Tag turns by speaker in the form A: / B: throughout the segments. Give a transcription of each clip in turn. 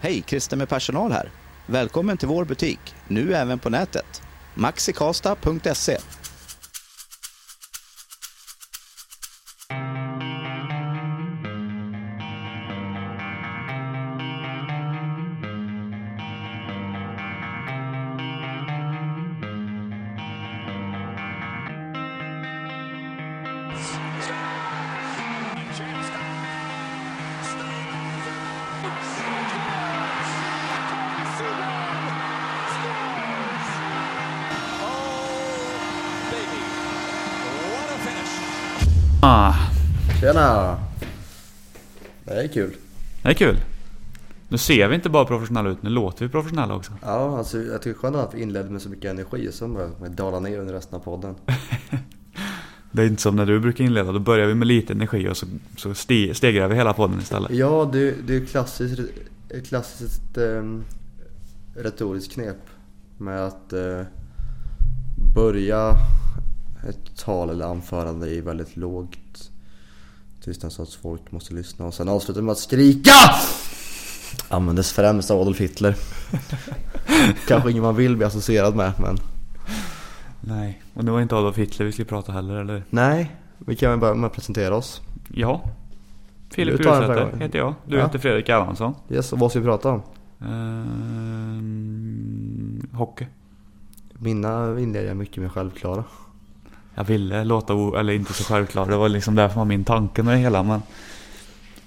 A: Hej, Christer med personal här. Välkommen till vår butik, nu även på nätet. maxikasta.se
B: Ah,
C: Tjena! Det här är kul.
B: det är kul. Nu ser vi inte bara professionella ut, nu låter vi professionella också.
C: Ja, alltså, jag tycker skönt att vi inledde med så mycket energi och sen började vi dala ner under resten av podden.
B: Det är inte som när du brukar inleda, då börjar vi med lite energi och så, så sti- stegrar vi hela podden istället.
C: Ja, det, det är klassiskt, ett klassiskt um, retoriskt knep med att eh, börja ett tal eller anförande i väldigt lågt tystnad så att folk måste lyssna och sen avsluta med att skrika! Användes främst av Adolf Hitler. Kanske ingen man vill bli associerad med men
B: Nej, och det var inte Adolf Hitler vi skulle prata heller, eller?
C: Nej, vi kan väl börja med att presentera oss.
B: Ja. Filip
C: Du tar den förra
B: Hussäter
C: gången.
B: heter jag. Du
C: Ja.
B: heter Fredrik Erlandsson.
C: Yes, och vad ska vi prata om?
B: Ehm, hockey.
C: Mina inleder jag mycket med självklara.
B: Jag ville låta, o- eller inte så självklar. Det var liksom därför var min tanke med det hela. Men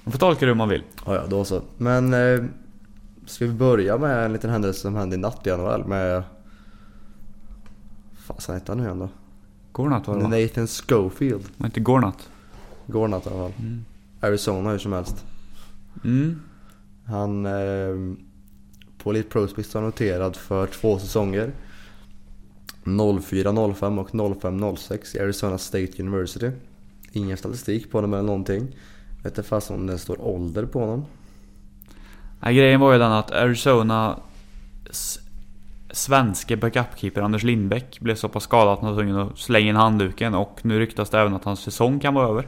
B: man får tolka det hur man vill.
C: Ja, ja, då så. Men eh, ska vi börja med en liten händelse som hände i natt i NHL med... Fasen hette han nu igen då?
B: Gornat var det va?
C: Nathan Schofield.
B: Var inte Gornat?
C: Går natt i alla fall.
B: Mm.
C: Arizona hur som helst.
B: Mm.
C: Han... Eh, på Elite Prospects var noterad för två säsonger. 04-05 och 05-06 i Arizona State University. Ingen statistik på honom eller någonting. Jag vet inte fast om det står ålder på honom.
B: Nej, grejen var ju den att Arizona s- svenske backupkeeper Anders Lindbäck blev så pass skadad att han var tvungen att slänga in handduken och nu ryktas det även att hans säsong kan vara över.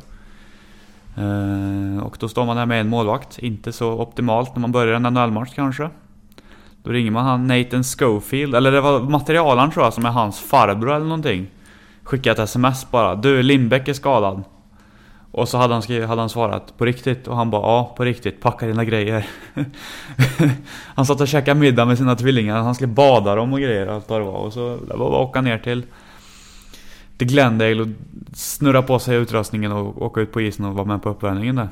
B: Eh, och då står man där med en målvakt. Inte så optimalt när man börjar en NHL-match kanske. Då ringer man han Nathan Schofield, eller det var materialaren tror jag som är hans farbror eller någonting. Skickar ett sms bara. Du Lindbäck är skadad. Och så hade han, skri- hade han svarat på riktigt och han bara ja, på riktigt. Packa dina grejer. han satt och käkade middag med sina tvillingar. Han skulle bada dem och grejer och allt vad det var. Och så det var bara att åka ner till, till Glendale och snurra på sig utrustningen och åka ut på isen och vara med på uppvärmningen där.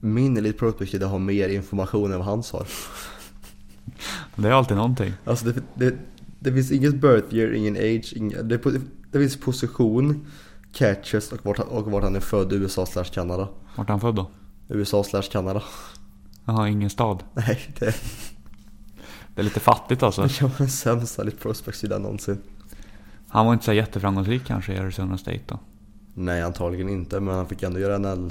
C: Min Elite Prospect-sida har mer information än vad hans har.
B: Det är alltid någonting.
C: Alltså det, det, det finns inget birth year, ingen age, ingen, det, det finns position, catches och vart, han- och vart han är född, USA slash Kanada.
B: Vart är han född då?
C: USA slash Kanada.
B: Jaha, ingen stad.
C: Nej, det,
B: Det är lite fattigt alltså.
C: det kan vara den sämsta Elite Prospect-sidan någonsin.
B: Han var inte så jätteframgångsrik kanske i Arizona State då.
C: Nej, antagligen inte, men han fick ändå göra en L.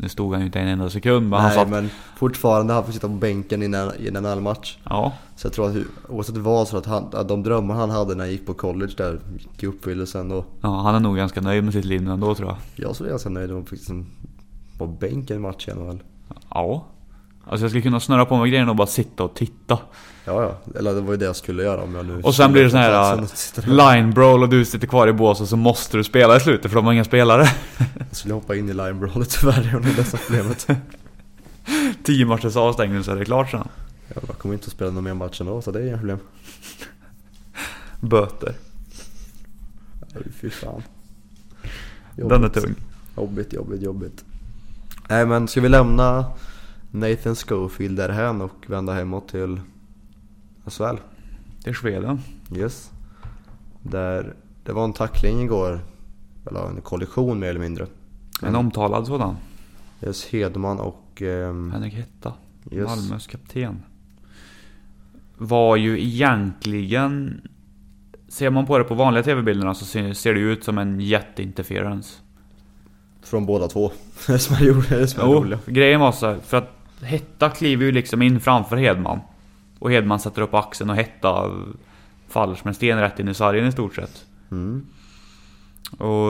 B: Nu stod han ju inte en enda sekund. Men han
C: Nej,
B: satt...
C: men fortfarande han fick sitta på bänken i en- i en NHL-match.
B: Ja.
C: Så jag tror att hur- oavsett vad så att, han, att de drömmar han hade när han gick på college där gick i uppfyllelsen. Och
B: ja, han är nog ganska nöjd med sitt liv nu ändå tror jag.
C: jag såg ganska nöjd om att liksom vara på bänken i en match i NHL.
B: Ja. Alltså jag skulle kunna snurra på mig grejerna och bara sitta och titta.
C: Ja, ja. Eller det var ju det jag skulle göra om jag nu...
B: Och sen blir det sån här
C: Sen
B: äh,
C: att sitta där.
B: line brawl och du sitter kvar i båset så måste du spela i slutet för de har inga spelare.
C: Jag skulle hoppa in i linebrawlet tyvärr, jag har nog löst problemet.
B: Tio matchers avstängning så är det klart sen.
C: Jag kommer inte att spela någon mer match ändå, så det är inga problem.
B: Böter.
C: Oj, Fy fan.
B: Den är tung.
C: Jobbigt, jobbigt, jobbigt. Nej men ska vi lämna Nathan Schofield därhän och vända hemåt till SHL?
B: Det är Sweden.
C: Yes. Där det var en tackling igår, eller en kollision mer eller mindre.
B: En omtalad sådan.
C: Yes, Hedman och... ehm,
B: Henrik Hitta.
C: Yes.
B: Malmös kapten. Var ju egentligen... Ser man på det på vanliga TV-bilderna så ser ser det ju ut som en jätteinterference.
C: Från båda två. det är som jag gjorde, det är som jag
B: Jo,
C: gjorde.
B: grejen var så här, för att Hetta kliver ju liksom in framför Hedman. Och Hedman sätter upp axeln och Hetta faller som en sten rätt in i sargen i stort sett.
C: Mm.
B: Och...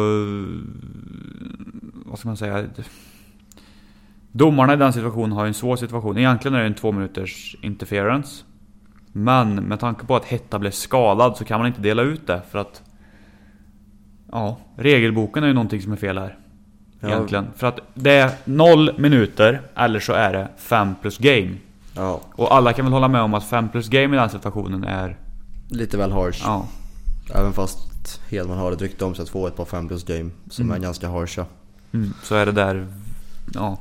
B: Vad ska man säga? Domarna i den situationen har ju en svår situation. Egentligen är det en två minuters interference. Men med tanke på att Hetta blev skadad så kan man inte dela ut det för att... Ja, regelboken är ju någonting som är fel här.
C: Ja.
B: Egentligen. För att det är noll minuter eller så är det 5 plus game.
C: Ja,
B: Och alla kan väl hålla med om att 5 plus game i den situationen är...
C: lite väl harsh.
B: Ja.
C: Även fast Hedman har ett rykte om sig att få ett par 5 plus game som är ganska harsha.
B: Mm, så är det där... Ja.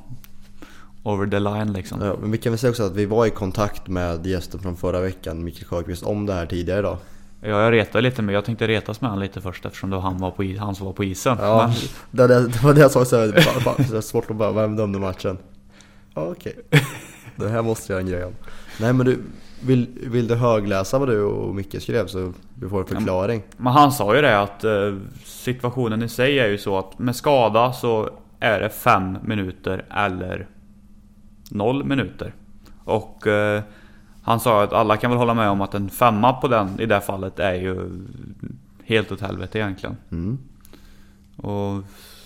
B: Over the line liksom.
C: Ja, men vi kan väl säga också att vi var i kontakt med gästen från förra veckan, Mikael Sjöqvist, om det här tidigare idag.
B: Ja, jag retade lite men jag tänkte retas med han lite först eftersom det var han, var på, i- han som var på isen.
C: Ja,
B: Men,
C: det, det, det var det jag sa så här, det var bara- så här svårt att bara, vem dömde matchen? Ja, okej. Det här måste jag göra en grej om. Nej men du, vill, vill du högläsa vad du och Micke skrev så du får en förklaring?
B: men han sa ju det att eh, situationen i sig är ju så att med skada så är det 5 minuter eller 0 minuter. Och eh, han sa att alla kan väl hålla med om att en femma på den i det här fallet är ju helt åt helvete egentligen.
C: Mm.
B: Och,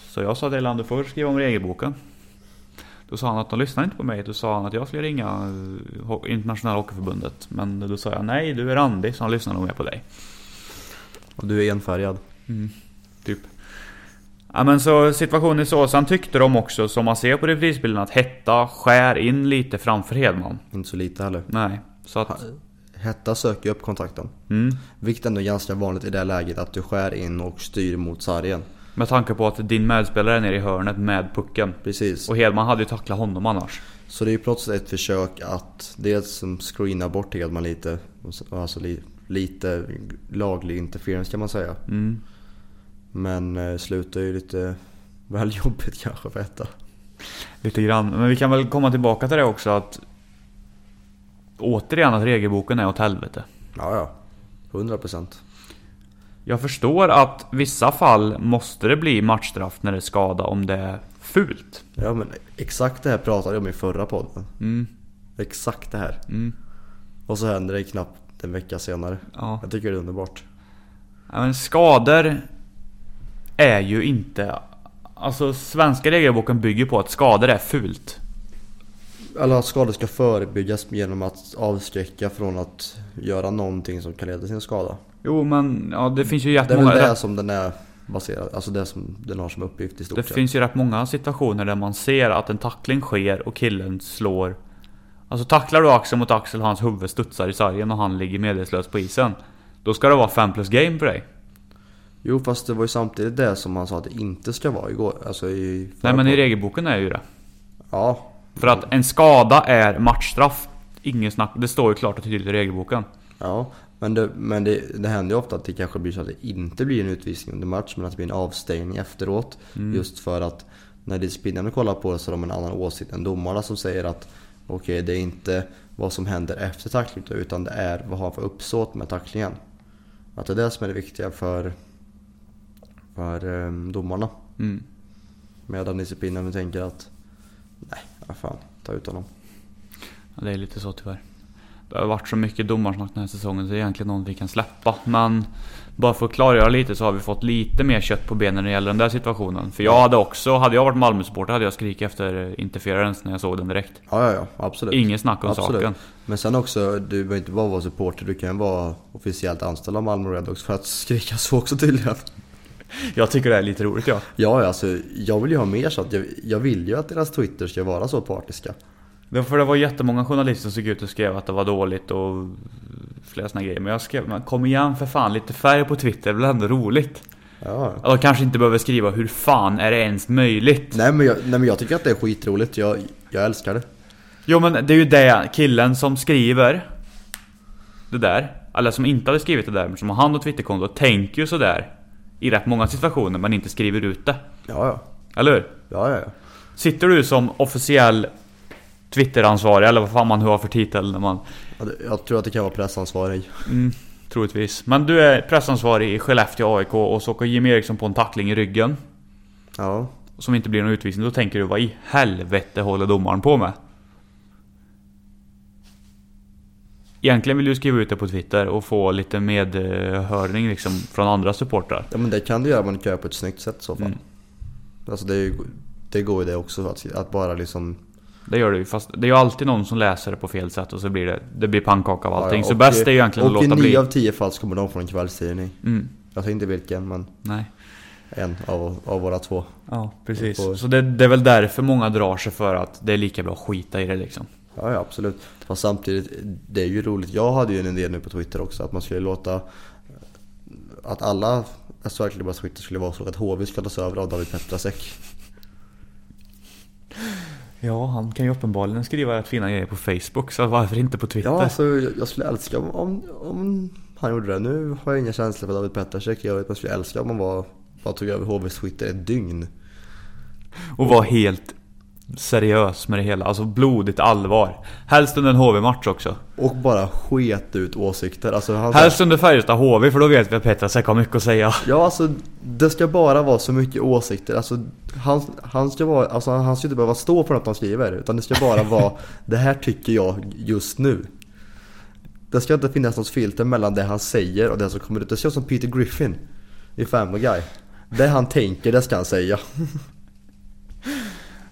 B: så jag sa till Elan, du får skriva om regelboken. Då sa han att de lyssnar inte på mig. Då sa han att jag skulle ringa eh, Ho- Internationella Hockeyförbundet. Men då sa jag nej, du är randig så han lyssnar nog mer på dig.
C: Och du är enfärgad.
B: Typ. Ja men så situationen är så. Sen tyckte de också, som man ser på reprisbilden, att Hetta skär in lite framför Hedman.
C: Inte så lite heller.
B: Nej. Så att...
C: Hetta söker ju upp kontakten.
B: Mm.
C: Vilket ändå är ganska vanligt i det här läget att du skär in och styr mot sargen.
B: Med tanke på att din medspelare är nere i hörnet med pucken.
C: Precis.
B: Och Hedman hade ju tacklat honom annars.
C: Så det är ju på något sätt ett försök att dels som screena bort Hedman lite, och så- alltså li, lite laglig interference kan man säga.
B: Mm.
C: Men eh, slutar ju lite väl jobbigt kanske för Etta.
B: Lite grann. Men vi kan väl komma tillbaka till det också att... Återigen att regelboken är åt helvete.
C: Ja, ja. 100 procent.
B: Jag förstår att vissa fall måste det bli matchstraff när det är skada om det är fult.
C: Ja men exakt det här pratade jag om i förra podden.
B: Mm,
C: Exakt det här.
B: mm,
C: Och så händer det knappt en vecka senare.
B: ja.
C: Jag tycker det är underbart.
B: ja. Men skador är ju inte... Alltså svenska regelboken bygger på att skador är fult.
C: Alla skador ska förebyggas genom att avskräcka från att göra någonting som kan leda till en skada.
B: Jo men ja, det finns ju
C: Det är väl
B: jättemånga...
C: det
B: Det,
C: som den är baserad, alltså det som den har som uppgift i stort
B: det
C: sett.
B: finns ju rätt många situationer där man ser att en tackling sker och killen slår... Alltså tacklar du axel mot axel och hans huvud studsar i sargen och han ligger medvetslös på isen. Då ska det vara 5 plus game för dig.
C: Jo fast det var ju samtidigt det som han sa att det inte ska vara igår, alltså i förra
B: Nej men i
C: podden.
B: regelboken är ju det.
C: Ja,
B: För att en skada är matchstraff. Ingen snack. Det står ju klart och tydligt i regelboken.
C: Ja, men, det, men det, det händer ju ofta att det kanske blir så att det inte blir en utvisning under match men att det blir en avstängning efteråt. Just för att när disciplinnämnden kollar på det så har de en annan åsikt än domarna som säger att okej, det är inte vad som händer efter tacklingen utan det är vad har han för uppsåt med tacklingen. Att det är det som är det viktiga för, för um, domarna.
B: Mm.
C: Medan disciplinnämnden tänker att nej, vad fan, ta ut honom.
B: Ja, Det är lite så tyvärr. Det har varit så mycket domarsnack den här säsongen så det är egentligen någon vi kan släppa. Men bara för att klargöra lite så har vi fått lite mer kött på benen när det gäller den där situationen. För jag hade också, hade jag varit Malmö-supporter hade jag skrikit efter interference när jag såg den direkt.
C: Ja, ja, ja, absolut.
B: Ingen snack om
C: Absolut.
B: saken.
C: Men sen också, du behöver inte bara vara supporter, du kan vara officiellt anställd av Malmö Redhawks för att skrika så också tydligen.
B: Jag tycker det är lite roligt ja.
C: Ja, ja, alltså jag vill ju ha mer sånt. Jag, jag vill ju att deras Twitter ska vara så partiska.
B: Det var för det var jättemånga journalister som gick ut och skrev att det var dåligt och flera såna grejer. Men jag skrev, men kom igen för fan, lite färg på Twitter, det är väl ändå roligt?
C: Ja. ja.
B: Ja, De kanske inte behöver skriva hur fan är det ens möjligt?
C: Nej men, jag, nej men jag tycker att det är skitroligt, jag, jag älskar det.
B: Jo men det är ju det killen som skriver det där, eller som inte hade skrivit det där men som har hand om twitterkontot, tänker ju sådär i rätt många situationer men inte skriver ut det.
C: Ja, ja.
B: Eller hur?
C: Ja, ja, ja.
B: Sitter du som officiell Twitteransvarig eller vad fan man nu har för titel när man
C: Ja, det- Jag tror att det kan vara pressansvarig.
B: Mm, troligtvis. Men du är pressansvarig i Skellefteå AIK och så åker Jimmy Eriksson på en tackling i ryggen.
C: Ja.
B: Som inte blir någon utvisning. Då tänker du vad i helvete håller domaren på med? Egentligen vill du skriva ut det på Twitter och få lite medhörning liksom från andra supportrar.
C: ja, men det kan du göra, men du kan
B: Mm.
C: göra på ett snyggt sätt i så fall. Alltså det, är ju, det går ju det också, att, att bara liksom
B: Det gör det ju, fast det är ju alltid någon som läser det på fel sätt och så blir det, det blir pannkaka av
C: Ja,
B: allting.
C: ja,
B: så
C: och-
B: bäst är ju egentligen att
C: Och i
B: låta bli.
C: nio av tio fall så kommer de från en kvällstidning.
B: Mm,
C: Jag vet inte vilken, men
B: nej.
C: en av, av våra två.
B: Ja,
C: Och-
B: precis. Så det, det är väl därför många drar sig för att det är lika bra att skita i det liksom.
C: Ja, ja absolut. Fast samtidigt, det är ju roligt. Jag hade ju en idé nu på Twitter också att man skulle låta att alla SHL-klubbars Twitter skulle vara så att HV ska tas över av David Petrasek.
B: Ja, han kan ju uppenbarligen skriva rätt fina grejer på Facebook, så varför inte på Twitter?
C: Ja, alltså, jag- jag skulle älska om, om, om han gjorde det. Nu har jag inga känslor för David Petrasek. Jag vet, man skulle älska om han var, bara tog över HVs Twitter ett dygn.
B: Och vara helt seriös med det hela. Alltså blodigt allvar. Helst under en HV-match också.
C: Och bara sket ut åsikter. Alltså, han,
B: Helst under Färjestad HV, för då vet vi att Petrasek har mycket att säga.
C: Ja, alltså det ska bara vara så mycket åsikter. Alltså, han, han, ska vara, alltså, han ska inte behöva stå på något han skriver. Utan det ska bara vara, det här tycker jag just nu. Det ska inte finnas något filter mellan det han säger och det som kommer ut. Det ska vara som Peter Griffin i Family Guy. Det han tänker, det ska han säga.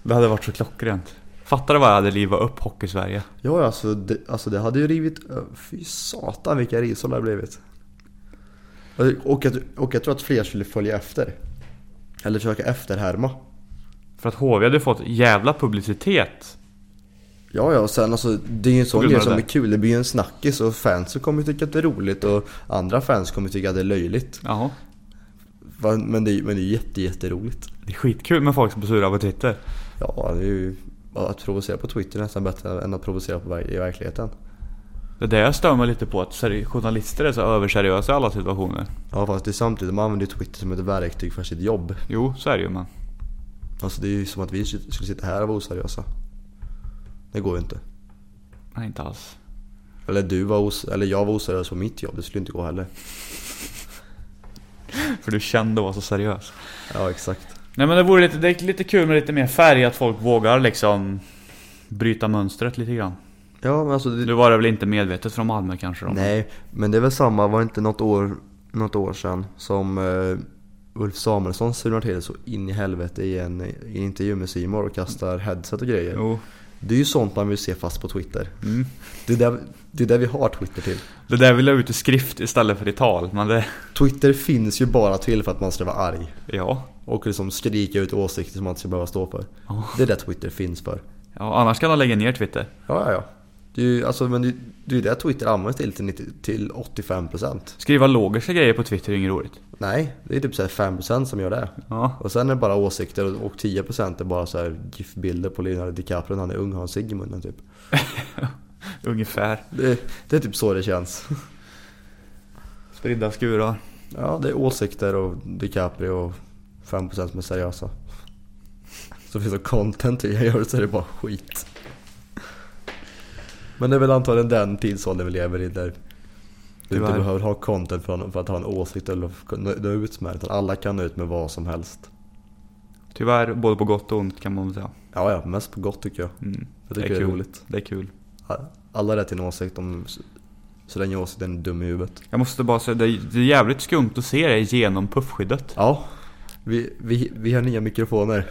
B: Det hade varit så klockrent. Fattar du vad jag hade livat upp Hockey-Sverige?
C: Ja, alltså det, alltså det hade ju rivit... Fy satan vilka risor det hade blivit. Och- Och jag, och jag tror att fler skulle följa efter. Eller försöka efterhärma.
B: För att HV hade fått jävla publicitet.
C: Ja, ja, och sen alltså det är ju en
B: På
C: sån
B: grund
C: grej
B: av
C: som
B: det.
C: är kul. Det blir ju en snackis och fansen kommer ju tycka att det är roligt och andra fans kommer tycka att det är löjligt.
B: Jaha.
C: Va, Men det, är- men det är jätte, jätteroligt.
B: Det är skitkul med folk som blir sura på Twitter.
C: Ja, det är ju att provocera på Twitter är nästan bättre än att provocera på, ver- i verkligheten.
B: Det är det jag stör mig lite på, att seri- journalister är så överseriösa i alla situationer.
C: Ja, fast det är samtidigt, man använder ju Twitter som ett verktyg för sitt jobb.
B: Jo, så är det ju men.
C: Alltså det är ju som att vi sit- skulle sitta här och vara oseriösa. Det går ju inte.
B: Nej, inte alls.
C: Eller du var os- eller jag var oseriös på mitt jobb, det skulle inte gå heller.
B: För du kände att vara så seriös.
C: Ja, exakt.
B: Nej men det vore lite, det är lite kul med lite mer färg, att folk vågar liksom bryta mönstret lite grann.
C: Ja, men alltså det,
B: Nu var det väl inte medvetet från Malmö kanske? De.
C: Nej, men det är väl samma, var det inte något år, något år sedan som eh, Ulf Samuelsson surnar till så in i helvete i en, i en intervju med Simor och kastar headset och grejer.
B: Jo.
C: Det är ju sånt man vill se fast på Twitter.
B: Mm.
C: Det är där, det är där vi har Twitter till.
B: Det där vill jag ut i skrift istället för i tal, men det...
C: Twitter finns ju bara till för att man ska vara arg.
B: Ja.
C: Och liksom skrika ut åsikter som man inte ska behöva stå för.
B: Ja.
C: Det är det Twitter finns för.
B: ja annars kan de lägga ner Twitter.
C: Ja, ja, ja. Det är ju alltså, men det, det är ju det Twitter används till till, 90, till 85%.
B: Skriva logiska grejer på Twitter är ju inget roligt.
C: Nej, det är typ så här 5% som gör det.
B: Ja.
C: Och sen är det bara åsikter och- och 10% är bara så här GIF-bilder på Leonardo DiCaprio när han är ung och har en cigg i munnen typ.
B: Ungefär.
C: Det, det är typ så det känns.
B: Spridda skurar.
C: Ja, det är åsikter och DiCaprio och 5% som är seriösa. Så finns det content jag gör så är det bara skit. Men det är väl antagligen den tidsåldern vi lever i där du inte
B: Tyvärr.
C: behöver ha content för att, för att ha en åsikt eller nå- nå ut med utan alla kan nå ut med vad som helst.
B: Tyvärr, både på gott och ont kan man väl säga.
C: Ja, ja, mest på gott tycker jag.
B: Mm.
C: Jag tycker det är,
B: kul.
C: roligt.
B: Det är kul.
C: Alla har rätt till en åsikt om så länge åsikten är dum i huvudet.
B: Jag måste bara säga, det är, det är jävligt skumt att se det genom puffskyddet.
C: Ja, vi, vi, vi har nya mikrofoner.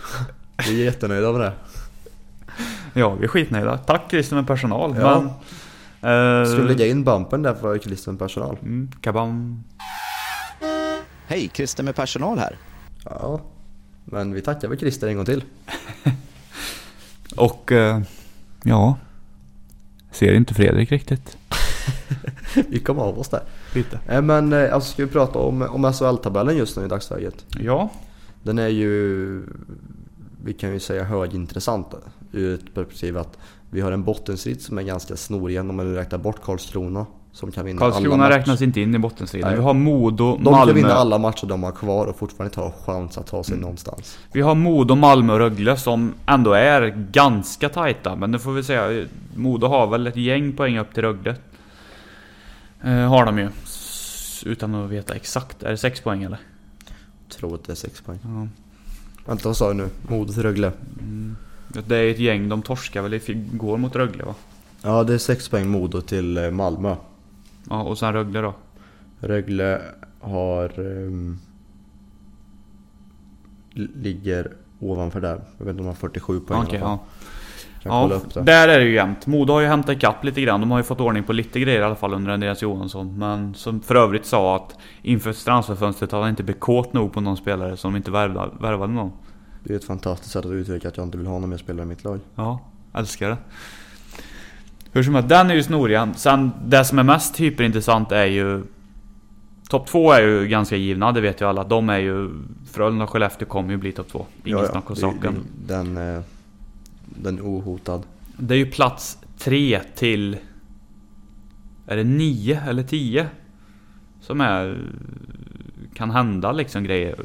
C: Vi är jättenöjda med det.
B: Ja, vi är skitnöjda. Tack Christer med personal.
C: Ja.
B: Men, eh,
C: Ska vi lägga in bumpen där för kristen personal?
B: mm, kabam.
A: Hej, Christer med personal här.
C: Ja, men vi tackar väl Christer en gång till.
B: Och eh, ja, ser inte Fredrik riktigt.
C: Vi kom av oss där.
B: Lite.
C: Eh, Men eh, alltså ska vi prata om, om SHL-tabellen just nu i dagsläget?
B: Ja,
C: Den är ju, vi kan ju säga högintressant ur ett perspektiv att vi har en bottenstrid som är ganska snorig om man räknar bort Karlskrona som kan vinna alla
B: Karlskrona
C: matcher.
B: räknas inte in i bottenstriden.
C: Nej.
B: Vi har Modo,
C: De kan
B: Malmö.
C: vinna alla matcher de har kvar och fortfarande ta chans att ta sig någonstans.
B: Vi har Modo, Malmö och Rögle som ändå är ganska tajta. Men nu får vi säga, eh, Modo har väl ett gäng poäng upp till Rögle. Eh, har de ju. S- Utan att veta exakt. Är det sex poäng eller?
C: Tror att det är sex poäng.
B: Ja.
C: Vänta, vad sa du nu? Modo till Rögle.
B: Det är ett gäng, de torskar väl igår mot Rögle va?
C: Ja, det är sex poäng Modo till eh, Malmö.
B: Ja, och sen Rögle då.
C: Rögle har... ehm, l- ligger ovanför där. Jag vet inte om de har 47 poäng
B: Okej,
C: i alla
B: ja.
C: fall. Kan kolla
B: Ja,
C: upp det.
B: där är det ju jämnt. Modo har ju hämtat ikapp lite grann. De har ju fått ordning på lite grejer i alla fall under Andreas Johansson. Men som för övrigt sa att inför transferfönstret hade han inte blivit kåt nog på någon spelare som inte värvade, värvade någon.
C: Det är ett fantastiskt sätt att uttrycka att jag inte vill ha någon mer spelare i mitt lag.
B: Ja, älskar det. Hur som helst, den är ju snoriga. Sen det som är mest hyperintressant är ju... Topp två är ju ganska givna, det vet ju alla. De är ju... Frölunda och Skellefteå kommer ju bli topp två. Ingen
C: Ja, ja.
B: snack om
C: Det-
B: saken.
C: det- Den, eh, den ohotad.
B: Det är ju plats tre till... Är det nio eller tio? Som är... Kan hända liksom grejer.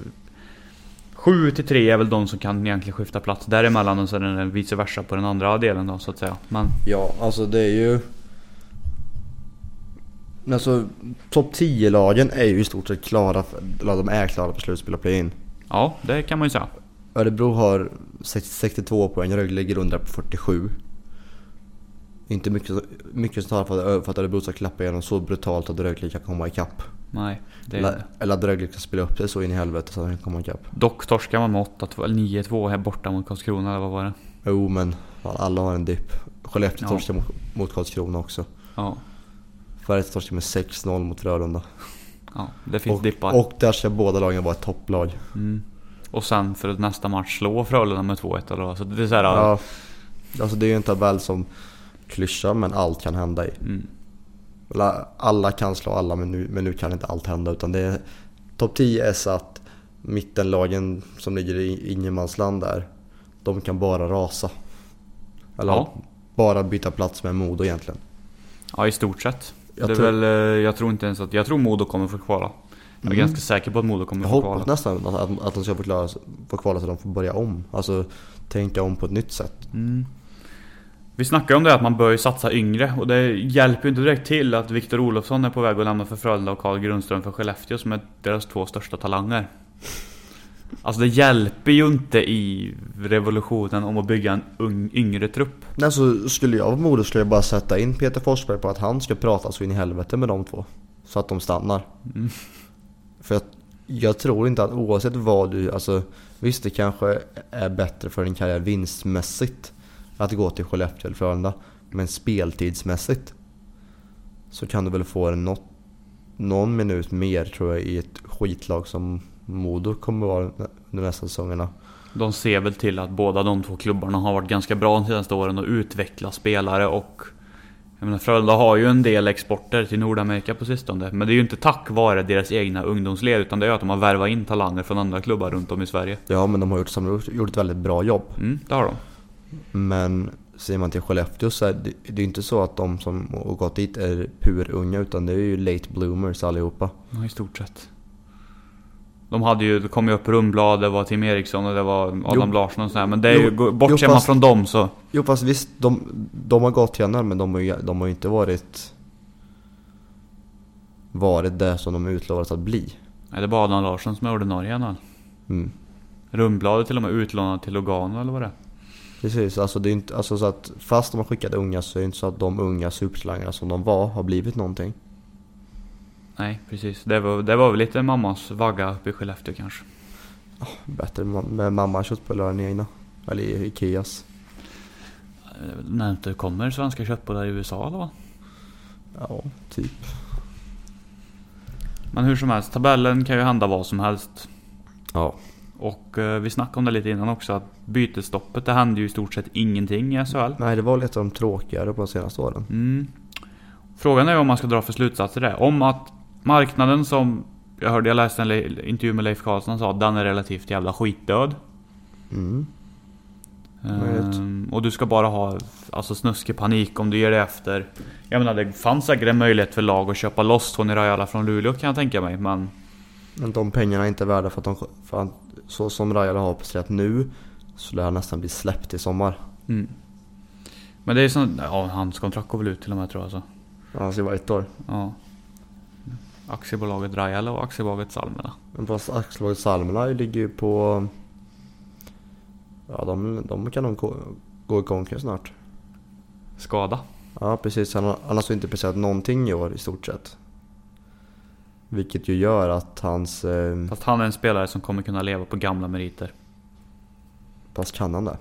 B: Sju till tre är väl de som kan egentligen skifta plats däremellan och sen är det vice versa på den andra delen då så att säga. Men
C: Ja, alltså det är ju... Men Alltså, topp 10-lagen är ju i stort sett klara, för- eller de är klara på slutspel och play-in.
B: ja, det kan man ju säga.
C: Örebro har 60 62 poäng, Rögle ligger under på 47. Inte mycket, mycket som talar för att, Ö- för att Örebro ska klappa igenom så brutalt att Rögle kan komma ikapp.
B: Nej. Det
C: Eller, eller att Rögle kan spela upp sig så in i helvete så att de kan komma ikapp.
B: Dock torskar man med 8-2 eller 9-2 här borta mot Karlskrona eller vad var det?
C: Jo men, fan, alla har en dipp. Skellefteå
B: Ja.
C: torskar mot, mot Karlskrona också.
B: Ja.
C: Färjestad torskar med 6-0 mot Frölunda.
B: ja det finns
C: Och,
B: dippar. Och,
C: och där ska båda lagen vara ett topplag.
B: mm. och sen för att nästa match slå Frölunda med 2-1 eller vad. Så det är så här, ja.
C: Ja. Alltså det är ju en tabell som klyschar men allt kan hända i.
B: Mm.
C: Alla- Alla kan slå alla men nu, men nu kan inte allt hända utan det är... Topp 10 är satt, mittenlagen som ligger i ingenmansland där, de kan bara rasa. Eller
B: Ja.
C: bara byta plats med Modo egentligen.
B: ja, i stort sett.
C: Jag
B: det är
C: tror-
B: väl, eh, jag tror inte ens att... Jag tror Modo kommer få kvala. Jag är
C: Mm.
B: ganska säker på att Modo kommer
C: Jag
B: få
C: hoppas
B: kvala.
C: nästan att, att, att de ska få, klara, få kvala så de får börja om. Alltså tänka om på ett nytt sätt.
B: Mm. Vi snackar om det att man bör ju satsa yngre och det hjälper ju inte direkt till att Viktor Olofsson är på väg att lämna för Frölunda och Carl Grundström för Skellefteå som är deras två största talanger. Alltså det hjälper ju inte i revolutionen om att bygga en ung, yngre trupp.
C: Nej, så skulle jag vara modig skulle jag bara sätta in Peter Forsberg på att han ska prata så in i helvete med de två. Så att de stannar.
B: Mm.
C: För jag, jag tror inte att oavsett vad du, alltså visst det kanske är bättre för din karriär vinstmässigt att gå till Skellefteå eller Frölunda. Men speltidsmässigt så kan du väl få något, någon minut mer tror jag i ett skitlag som Modo kommer vara under nästa säsongerna.
B: De ser väl till att båda de två klubbarna har varit ganska bra de senaste åren och utveckla spelare och... Jag menar Frölunda har ju en del exporter till Nordamerika på sistone. Men det är ju inte tack vare deras egna ungdomsled utan det är ju att de har värvat in talanger från andra klubbar runt om i Sverige.
C: Ja men de har gjort, som- gjort ett väldigt bra jobb.
B: Mm, det har de.
C: Men ser man till Skellefteå så är det, det är ju inte så att de som har gått dit är purunga utan det är ju late bloomers allihopa.
B: Ja, i stort sett. De hade ju, det kom ju upp Rundblad, det var Tim Eriksson och det var Adam
C: Jo.
B: Larsson och sådär. Men det är ju,
C: Jo,
B: gå- bortser
C: jo,
B: man
C: fast-
B: från dem så...
C: Jo fast visst, de, de har gått tränare men de har ju de har ju inte varit varit det som de utlovades att bli.
B: Nej, det är bara Adam Larsson som är ordinarie i
C: Mm.
B: Rundblad är till och med utlånad till Lugano eller vad det är.
C: Precis, alltså det är inte, alltså så att fast de har skickat unga så är det inte så att de unga supertalangerna som de var har blivit någonting.
B: Nej, precis. Det var, det var väl lite mammas vagga uppe i Skellefteå kanske.
C: Bättre ma- med mamma köttbullar än egna. Eller i Ikeas.
B: Eh, När inte kommer svenska köttbullar i USA eller vad?
C: Ja, typ.
B: Men hur som helst, tabellen kan ju hända vad som helst.
C: Ja.
B: Och eh, vi snackade om det lite innan också, att bytesstoppet, det hände ju i stort sett ingenting i SHL.
C: Nej, det var lite av de tråkigare på de senaste åren.
B: Mm. Frågan är om man ska dra för slutsatser där. Om att marknaden som jag hörde, jag läste en le- intervju med Leif Karlsson sa att den är relativt jävla skitdöd.
C: Mm. vet.
B: Ehm, och du ska bara ha alltså, snuskepanik om du ger dig efter. Jag menar det fanns säkert en möjlighet för lag att köpa loss Tony Rajala från Luleå kan jag tänka mig. Men
C: Men de pengarna är inte värda för att de... För att, så som Rajala har presterat nu så lär han nästan bli släppt i sommar.
B: Mm. Men det är ju sån, ja hans kontrakt går väl ut till och med tror jag så.
C: Annars i varje ett år.
B: Ja. Aktiebolaget Rajala och aktiebolaget Salmela.
C: Men fast aktiebolaget Salmela ligger ju på... Ja, de, de kan nog gå, gå i konkurs snart.
B: Skada.
C: Ja, precis. Han har han har alltså inte presterat någonting i år i stort sett. Vilket ju gör att hans... Eh,
B: Fast han är en spelare som kommer kunna leva på gamla meriter.
C: fast kan han det?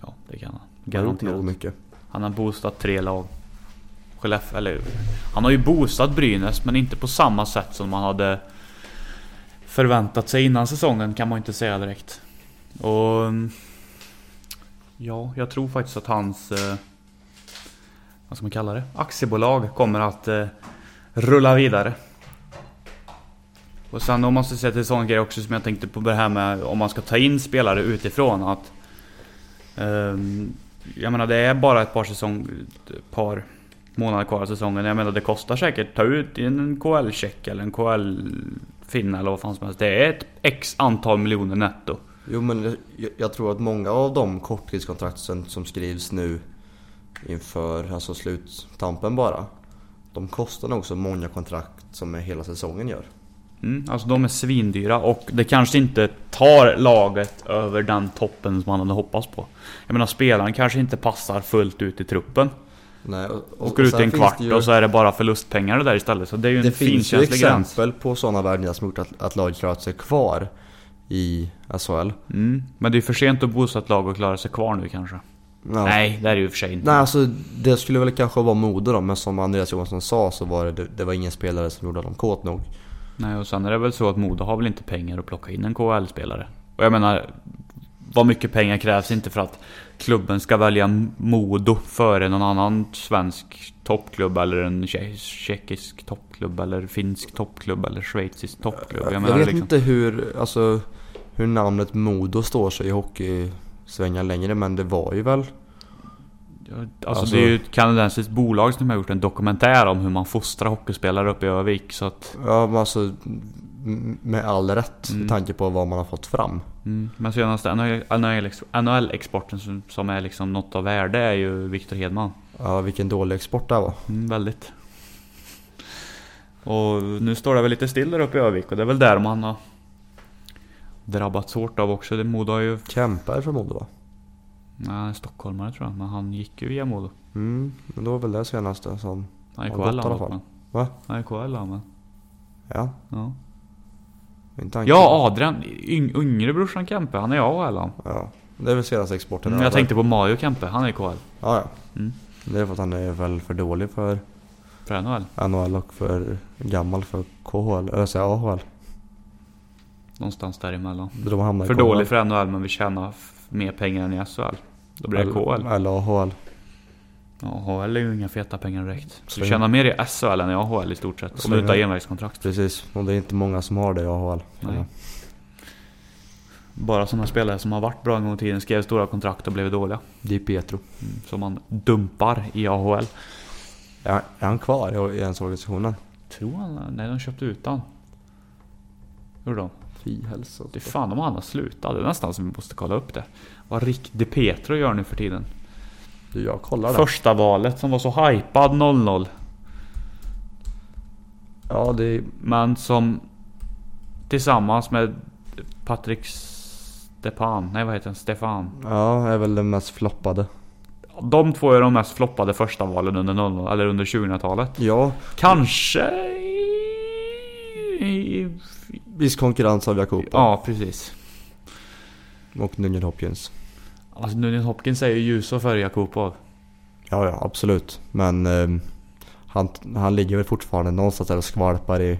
B: Ja, det kan han.
C: har gjort nog
B: Garanterat.
C: mycket.
B: Han har boostat tre lag. Skellefteå, eller Han har ju boostat Brynäs men inte på samma sätt som man hade förväntat sig innan säsongen kan man ju inte säga direkt. Och... mm, Ja, jag tror faktiskt att hans... eh, Vad ska man kalla det? Aktiebolag kommer att eh, rulla vidare. Och sen om man ska säga till sån grej också som jag tänkte på det här med om man ska ta in spelare utifrån att... ehm, jag menar det är bara ett par säsong... Ett par månader kvar av säsongen. Jag menar det kostar säkert ta ut en KL-check eller en KL-finna eller vad fan som helst. Det är ett x antal miljoner netto.
C: Jo men jag, jag tror att många av de korttidskontrakt som, som skrivs nu inför alltså sluttampen bara. De kostar nog så många kontrakt som hela säsongen gör.
B: Mm, alltså de är svindyra och det kanske inte tar laget över den toppen som man hade hoppats på. Jag menar spelaren kanske inte passar fullt ut i truppen.
C: Nej, och, och-
B: Åker
C: och
B: ut
C: sen
B: i en
C: finns
B: kvart
C: det ju-
B: och så är det bara förlustpengar det där istället. Så det är ju en
C: Det finns ju
B: finkänslig gräns.
C: exempel på sådana värvningar som gjort att, att laget klarat sig kvar i SHL.
B: Mm, men det är ju för sent att boosta ett lag och klara sig kvar nu kanske.
C: Ja.
B: Nej, det är det ju i och för sig inte.
C: Nej, alltså det skulle väl kanske vara mode då, men som Andreas Johansson sa så var det, det, det var ingen spelare som gjorde dem kåt nog.
B: Nej, och sen är det väl så att Modo har väl inte pengar att plocka in en KHL-spelare. Och jag menar, vad mycket pengar krävs inte för att klubben ska välja Modo före någon annan svensk toppklubb eller en tje- tjeckisk toppklubb eller finsk toppklubb eller schweizisk toppklubb. Jag
C: Jag,
B: menar
C: vet
B: liksom,
C: inte hur, alltså, hur namnet Modo står sig i hockeysvängar längre, men det var ju väl...
B: alltså,
C: alltså-
B: det är ju ett kanadensiskt bolag som har gjort en dokumentär om hur man fostrar hockeyspelare uppe i Övik så att...
C: Ja, men alltså, m- med all rätt
B: Mm.
C: med tanke på vad man har fått fram.
B: Mm. Men senaste NHL-exporten som, som är liksom något av värde är ju Viktor Hedman.
C: Ja, vilken dålig export det här var.
B: Mm, väldigt. Och nu står det väl lite still där uppe i Övik och det är väl där man har drabbats hårt av också. Det Modo har ju...
C: Kempe är från Modo va?
B: Nej, han är stockholmare tror jag, men han gick ju via Modo.
C: Mm, men då var väl det senaste som...
B: Nej,
C: Ja,
B: KL
C: gott i alla
B: han
C: fall.
B: men.
C: Va?
B: Nej, KL han men.
C: Ja,
B: Ja.
C: min tanke.
B: ja, Adrian. Yng, yngre brorsan Kempe, han är jag och Allan.
C: ja. Det är väl senaste exporten.
B: Mm,
C: där,
B: jag
C: va?
B: tänkte på Mario Kempe, han är i KL.
C: Ja, ja.
B: Mm.
C: Det är för att han är väl för dålig för
B: För NHL.
C: NHL och för gammal för KHL, eller säga AHL.
B: Någonstans däremellan.
C: De hamnar i
B: För
C: KHL.
B: dålig för NHL, men vi tjänar f- mer pengar än i SHL. Då blir det KL.
C: Eller AHL.
B: Ja, AHL är ju inga feta pengar direkt. Så
C: Släng.
B: du tjänar mer i SHL än i AHL i stort sett. Om du
C: Släng.
B: inte har envägskontrakt.
C: Precis, och det är inte många som har det i AHL.
B: Nej. Bara sådana spelare som har varit bra en gång i tiden skrev stora kontrakt och blev dåliga.
C: Di Pietro.
B: Mm, Som man dumpar i AHL.
C: Är, är han kvar i- i ens organisationen?
B: Tror han? Nej, de köpte ut han. Gjorde de?
C: Fy hälsa.
B: Det är fan om han har slutat. Det är nästan som vi måste kolla upp det. Vad Rick De Petro gör nu för tiden.
C: Du, jag kollar det.
B: Första valet som var så hypad 0-0.
C: Ja, det är...
B: Men som tillsammans med Patrik Stepan. Nej, vad heter han? Stefan.
C: Ja, är väl den mest floppade.
B: De två är de mest floppade första valen under, 00 eller under 2000-talet.
C: Ja,
B: Kanske... i- i-
C: viss konkurrens av Jakob
B: Ja, precis.
C: och Nugent Hopkins.
B: Alltså Nugent Hopkins är ju ljusår före Jakubov.
C: Ja, ja, absolut. Men ehm, han, han ligger väl fortfarande någonstans där och skvalpar i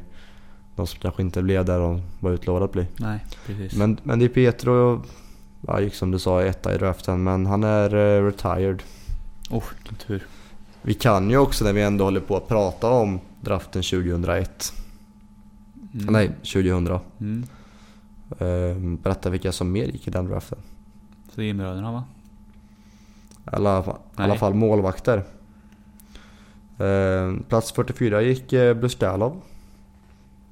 C: de som kanske inte blev där de var utlovade att bli.
B: Nej, precis.
C: Men, men det är Pietro, ja, gick som du sa etta i draften, men han är eh, retired.
B: Oh, vilken tur.
C: Vi kan ju också när vi ändå håller på att prata om draften 2001,
B: Mm.
C: nej 2000, eh,
B: Mm.
C: berätta vilka som mer gick i den draften.
B: Fribröderna va?
C: I alla, fa- i alla
B: Nej.
C: fall målvakter. Eh, plats 44 gick eh, Bluskalov.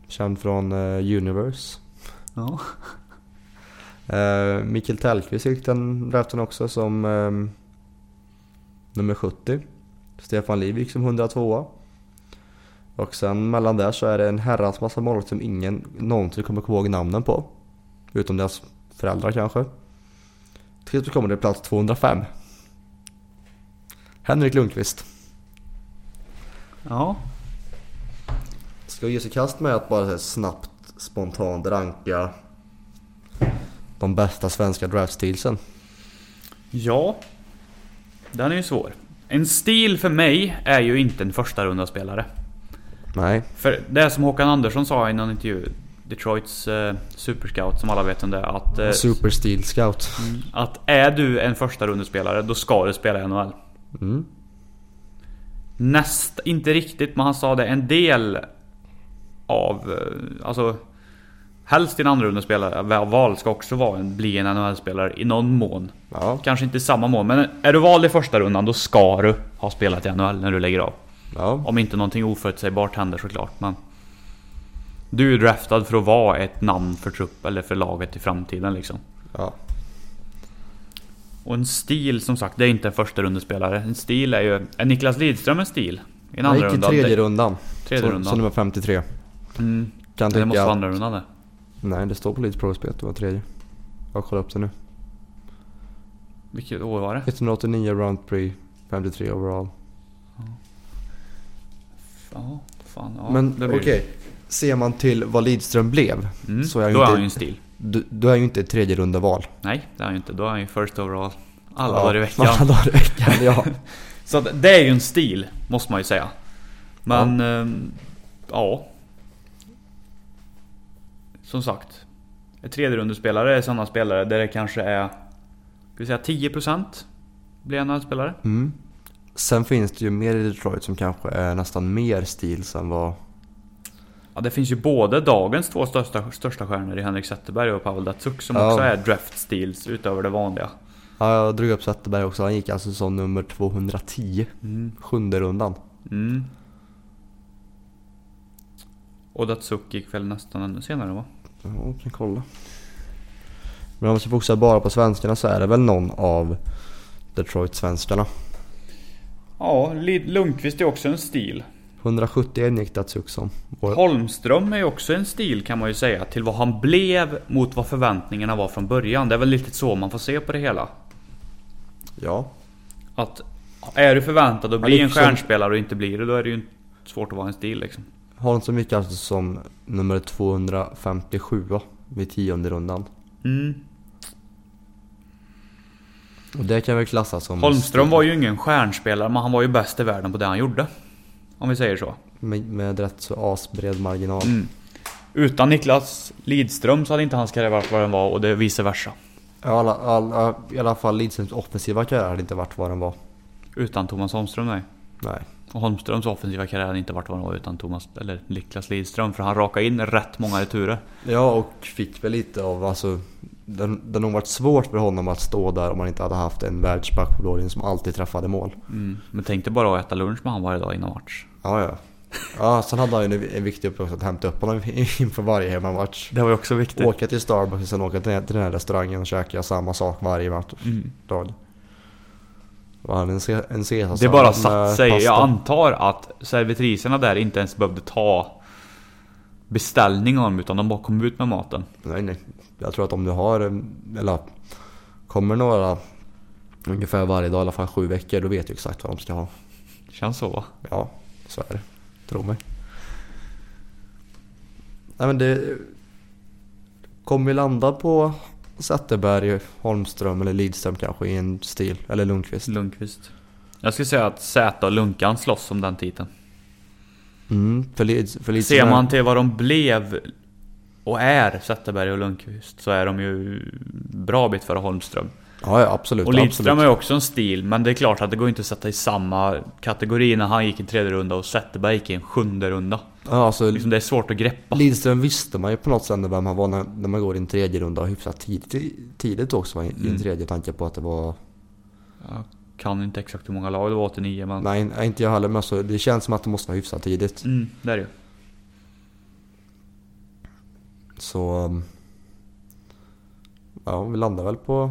C: Känd från eh, Universe.
B: Ja.
C: Eh, Mikael Tellqvist gick den draften också som ehm, nummer 70. Stefan Liv gick som 102 Och sen mellan där så är det en herrans massa målvakter som ingen någonsin kommer komma ihåg namnen på. Utom deras föräldrar kanske. Till slut kommer det plats 205. Henrik Lundqvist.
B: Ja.
C: Ska vi ge oss i kast med att bara så här snabbt, spontant ranka de bästa svenska draftsteelsen?
B: Ja. Den är ju svår. En stil för mig är ju inte en första runda spelare.
C: Nej.
B: För det som Håkan Andersson sa i någon intervju, Detroits eh, superscout som alla vet om det är, att... Eh,
C: Super Steel Scout.
B: att är du en första rundespelare då ska du spela i NHL.
C: Mm.
B: Näst, inte riktigt, men han sa det. En del av... eh, Alltså... Helst din andra rundespelare val ska också vara en, bli en NHL-spelare i någon mån.
C: Ja.
B: Kanske inte i samma mån, men är du vald i första rundan då ska du ha spelat i NHL när du lägger av.
C: Ja.
B: Om inte någonting oförutsägbart händer såklart, men... Du är ju draftad för att vara ett namn för trupp eller för laget i framtiden liksom.
C: Ja.
B: Och en stil som sagt, det är inte en första rundespelare. En stil är ju... Är Niklas Lidström en stil? I en
C: Han
B: andra
C: gick i
B: runda?
C: tredje rundan.
B: Tredje
C: så,
B: rundan.
C: så nummer 53.
B: Mm.
C: Kan
B: Det
C: tycka
B: måste vara
C: att...
B: andra rundan det.
C: Nej, det står på Leeds Pro-spel att det var tredje. Jag kollar upp det nu.
B: Vilket år var det?
C: 189 round pre, 53 overall.
B: Ja, fan. Ja,
C: Men
B: det blir
C: okej,
B: det.
C: ser man till vad Lidström blev.
B: Mm.
C: så är jag
B: Då
C: ju
B: är
C: inte-
B: han ju en stil.
C: Du, du är ju inte ett tredje runda val.
B: Nej, det är han ju inte. Då är han ju first overall. Alla dagar i veckan.
C: Alla dagar i veckan, ja.
B: Så att det är ju en stil, måste man ju säga. Men... ehm, ja. Som sagt. Ett tredje rundespelare är sådana spelare där det kanske är... Ska vi säga 10% blir en NHL-spelare?
C: Mm. Sen finns det ju mer i Detroit som kanske är nästan mer Steels än vad...
B: Ja, det finns ju både dagens två största, största stjärnor i Henrik Zetterberg och Pavel Datsuk som
C: Ja.
B: också är draft steals utöver det vanliga.
C: Ja, jag drog upp Zetterberg också. Han gick alltså som nummer 210. Sjunde rundan.
B: Mm. Och Datsuk gick väl nästan ännu senare va?
C: Ja, jag kan kolla. Men om vi ska fokusera bara på svenskarna så är det väl någon av Detroit-svenskarna.
B: Ja, Lid- Lundqvist är också en stil.
C: 171 gick Datsuk som. Vår-
B: Holmström är ju också en stil kan man ju säga till vad han blev mot vad förväntningarna var från början. Det är väl lite så man får se på det hela.
C: Ja.
B: Att är du förväntad att
C: Ja,
B: bli en
C: liksom-
B: stjärnspelare och inte blir det, då är det ju inte svårt att vara en stil liksom.
C: Holmström gick alltså som nummer 257 vid tionde rundan.
B: Mm.
C: Och det kan väl klassas som...
B: Holmström var ju ingen stjärnspelare, men han var ju bäst i världen på det han gjorde. Om vi säger så.
C: Med, med rätt så asbred marginal.
B: Mm. Utan Niklas Lidström så hade inte hans karriär varit vad den var och det är vice versa.
C: Ja, alla, alla, I alla fall Lidströms offensiva karriär hade inte varit vad den var.
B: Utan Thomas Holmström nej.
C: Nej.
B: Och Holmströms offensiva karriär hade inte varit vad den var utan Thomas, eller Niklas Lidström. För han rakade in rätt många returer.
C: Ja, och fick väl lite av alltså... Det det har nog varit svårt för honom att stå där om man inte hade haft en världsback på blå linjen som alltid träffade mål.
B: Mm. Men tänk dig bara att äta lunch med han varje dag innan match.
C: Ja, ja. Ja, sen hade han ju en- en viktig uppgift att hämta upp honom inför varje hemmamatch.
B: Det var ju också viktigt.
C: Åka till Starbucks och sen åka till den- till den här restaurangen och käka samma sak varje match.
B: Mm.
C: dag. Var han en, se- en Caesarsallad
B: Det bara
C: med
B: satt sig.
C: eh, pasta?
B: Jag antar att servitriserna där inte ens behövde ta beställning om utan de bara kom ut med maten.
C: Nej, nej. Jag tror att om du har, em, eller kommer några ungefär varje dag, i alla fall sju veckor, då vet du exakt vad de ska ha.
B: Känns så va?
C: Ja, så är det. Tro mig. Nej men det... Kommer vi landa på Zetterberg, Holmström eller Lidström kanske i en stil? Eller Lundqvist?
B: Lundqvist. Jag skulle säga att Z och Lunkan slåss om den titeln.
C: Mm, för, Lids, för Lidström...
B: Ser
C: är-
B: man till vad de blev och är, Zetterberg och Lundqvist, så är de ju bra bit före Holmström.
C: Ja, ja absolut.
B: Och Lidström har
C: absolut.
B: ju också en stil, men det är klart att det går inte att sätta i samma kategori när han gick i en tredje runda och Zetterberg gick i en sjunde runda.
C: Ja, alltså,
B: Liksom det är svårt att greppa.
C: Lidström visste man ju på något sätt ändå vem han var när, när man går i en tredje runda och hyfsat tidigt, tidigt också i i en
B: Mm.
C: tredje tanke på att det var...
B: Jag kan inte exakt hur många lag det var, 89 men...
C: Nej, nej, inte jag heller men alltså, det känns som att det måste vara hyfsat tidigt.
B: Mm, det är det ju.
C: Så... um, Ja, vi landar väl på...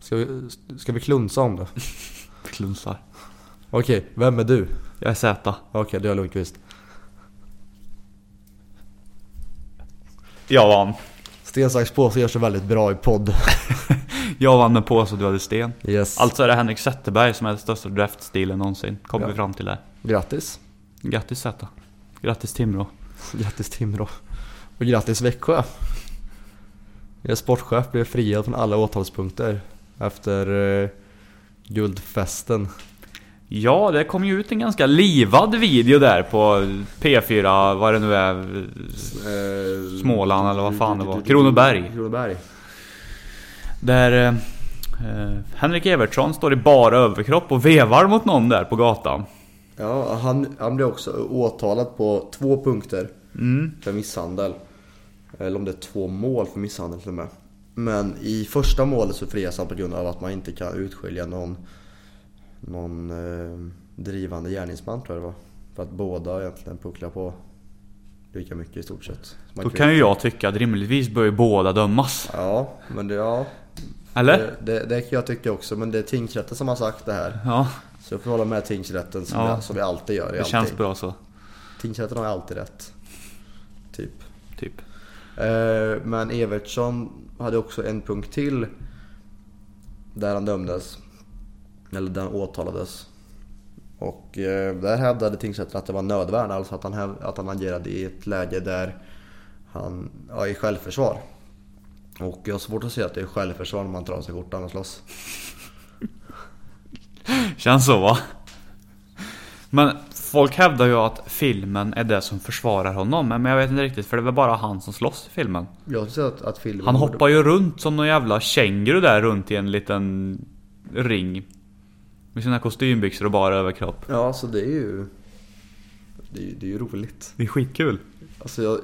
C: Ska vi, ska vi klunsa om det?
B: Klunsar.
C: Okej, vem är du?
B: Jag är Z.
C: Okej, du är Lundqvist.
B: Jag vann.
C: Sten, sax, påse gör sig väldigt bra i podd.
B: Jag vann med påse och du hade sten.
C: Yes.
B: Alltså är det Henrik Zetterberg som är den största draftstilen någonsin. Kommer
C: Ja.
B: vi fram till det.
C: Grattis.
B: Grattis Zäta. Grattis Timrå.
C: Grattis Timrå. Och grattis Växjö. Er sportchef blev friad från alla åtalspunkter efter eh,
B: Eh,
C: Guldfesten.
B: Ja, det kom ju ut en ganska livad video där på P4, vad det nu är.
C: Eh,
B: Småland eller vad fan det var. Kronoberg.
C: Kronoberg.
B: Där eh, eh, Henrik Evertsson står i bara överkropp och vevar mot någon där på gatan.
C: Ja, han, han blev också åtalad på två punkter
B: Mm.
C: för misshandel. Eller om det är två mål för misshandel till och med. Men i första målet så frias han på grund av att man inte kan utskilja någon, någon eh, drivande gärningsman tror jag det var. För att båda egentligen pucklar på lika mycket i stort sett. Man
B: Då kan ju jag tycka att rimligtvis bör ju båda dömas.
C: Ja, men det, ja,
B: Eller?
C: det, det, det kan jag tycka också. Men det är tingsrätten som har sagt det här.
B: Ja,
C: Så jag får hålla med tingsrätten som,
B: Ja.
C: vi, som vi alltid gör i
B: det
C: allting.
B: känns bra så.
C: Tingsrätten har alltid rätt. Typ.
B: Typ.
C: Eh, Men Evertsson hade också en punkt till. Där han dömdes. Eller där han åtalades. Och eh, där hävdade tingsrätten att det var nödvärn. Alltså att han, häv- att han agerade i ett läge där han, ja, i självförsvar. Och jag har svårt att se att det är självförsvar när man tar av sig skjortan och slåss.
B: Känns så va? Men folk hävdar ju att filmen är det som försvarar honom. Men jag vet inte riktigt för det är väl bara han som slåss i filmen.
C: Jag ser att, att filmen
B: Han
C: borde-
B: hoppar ju runt som någon jävla känguru där runt i en liten ring. Med sina kostymbyxor och bara överkropp.
C: Ja, så det är ju... Det är, ju- det är ju roligt.
B: Det är skitkul.
C: Alltså jag,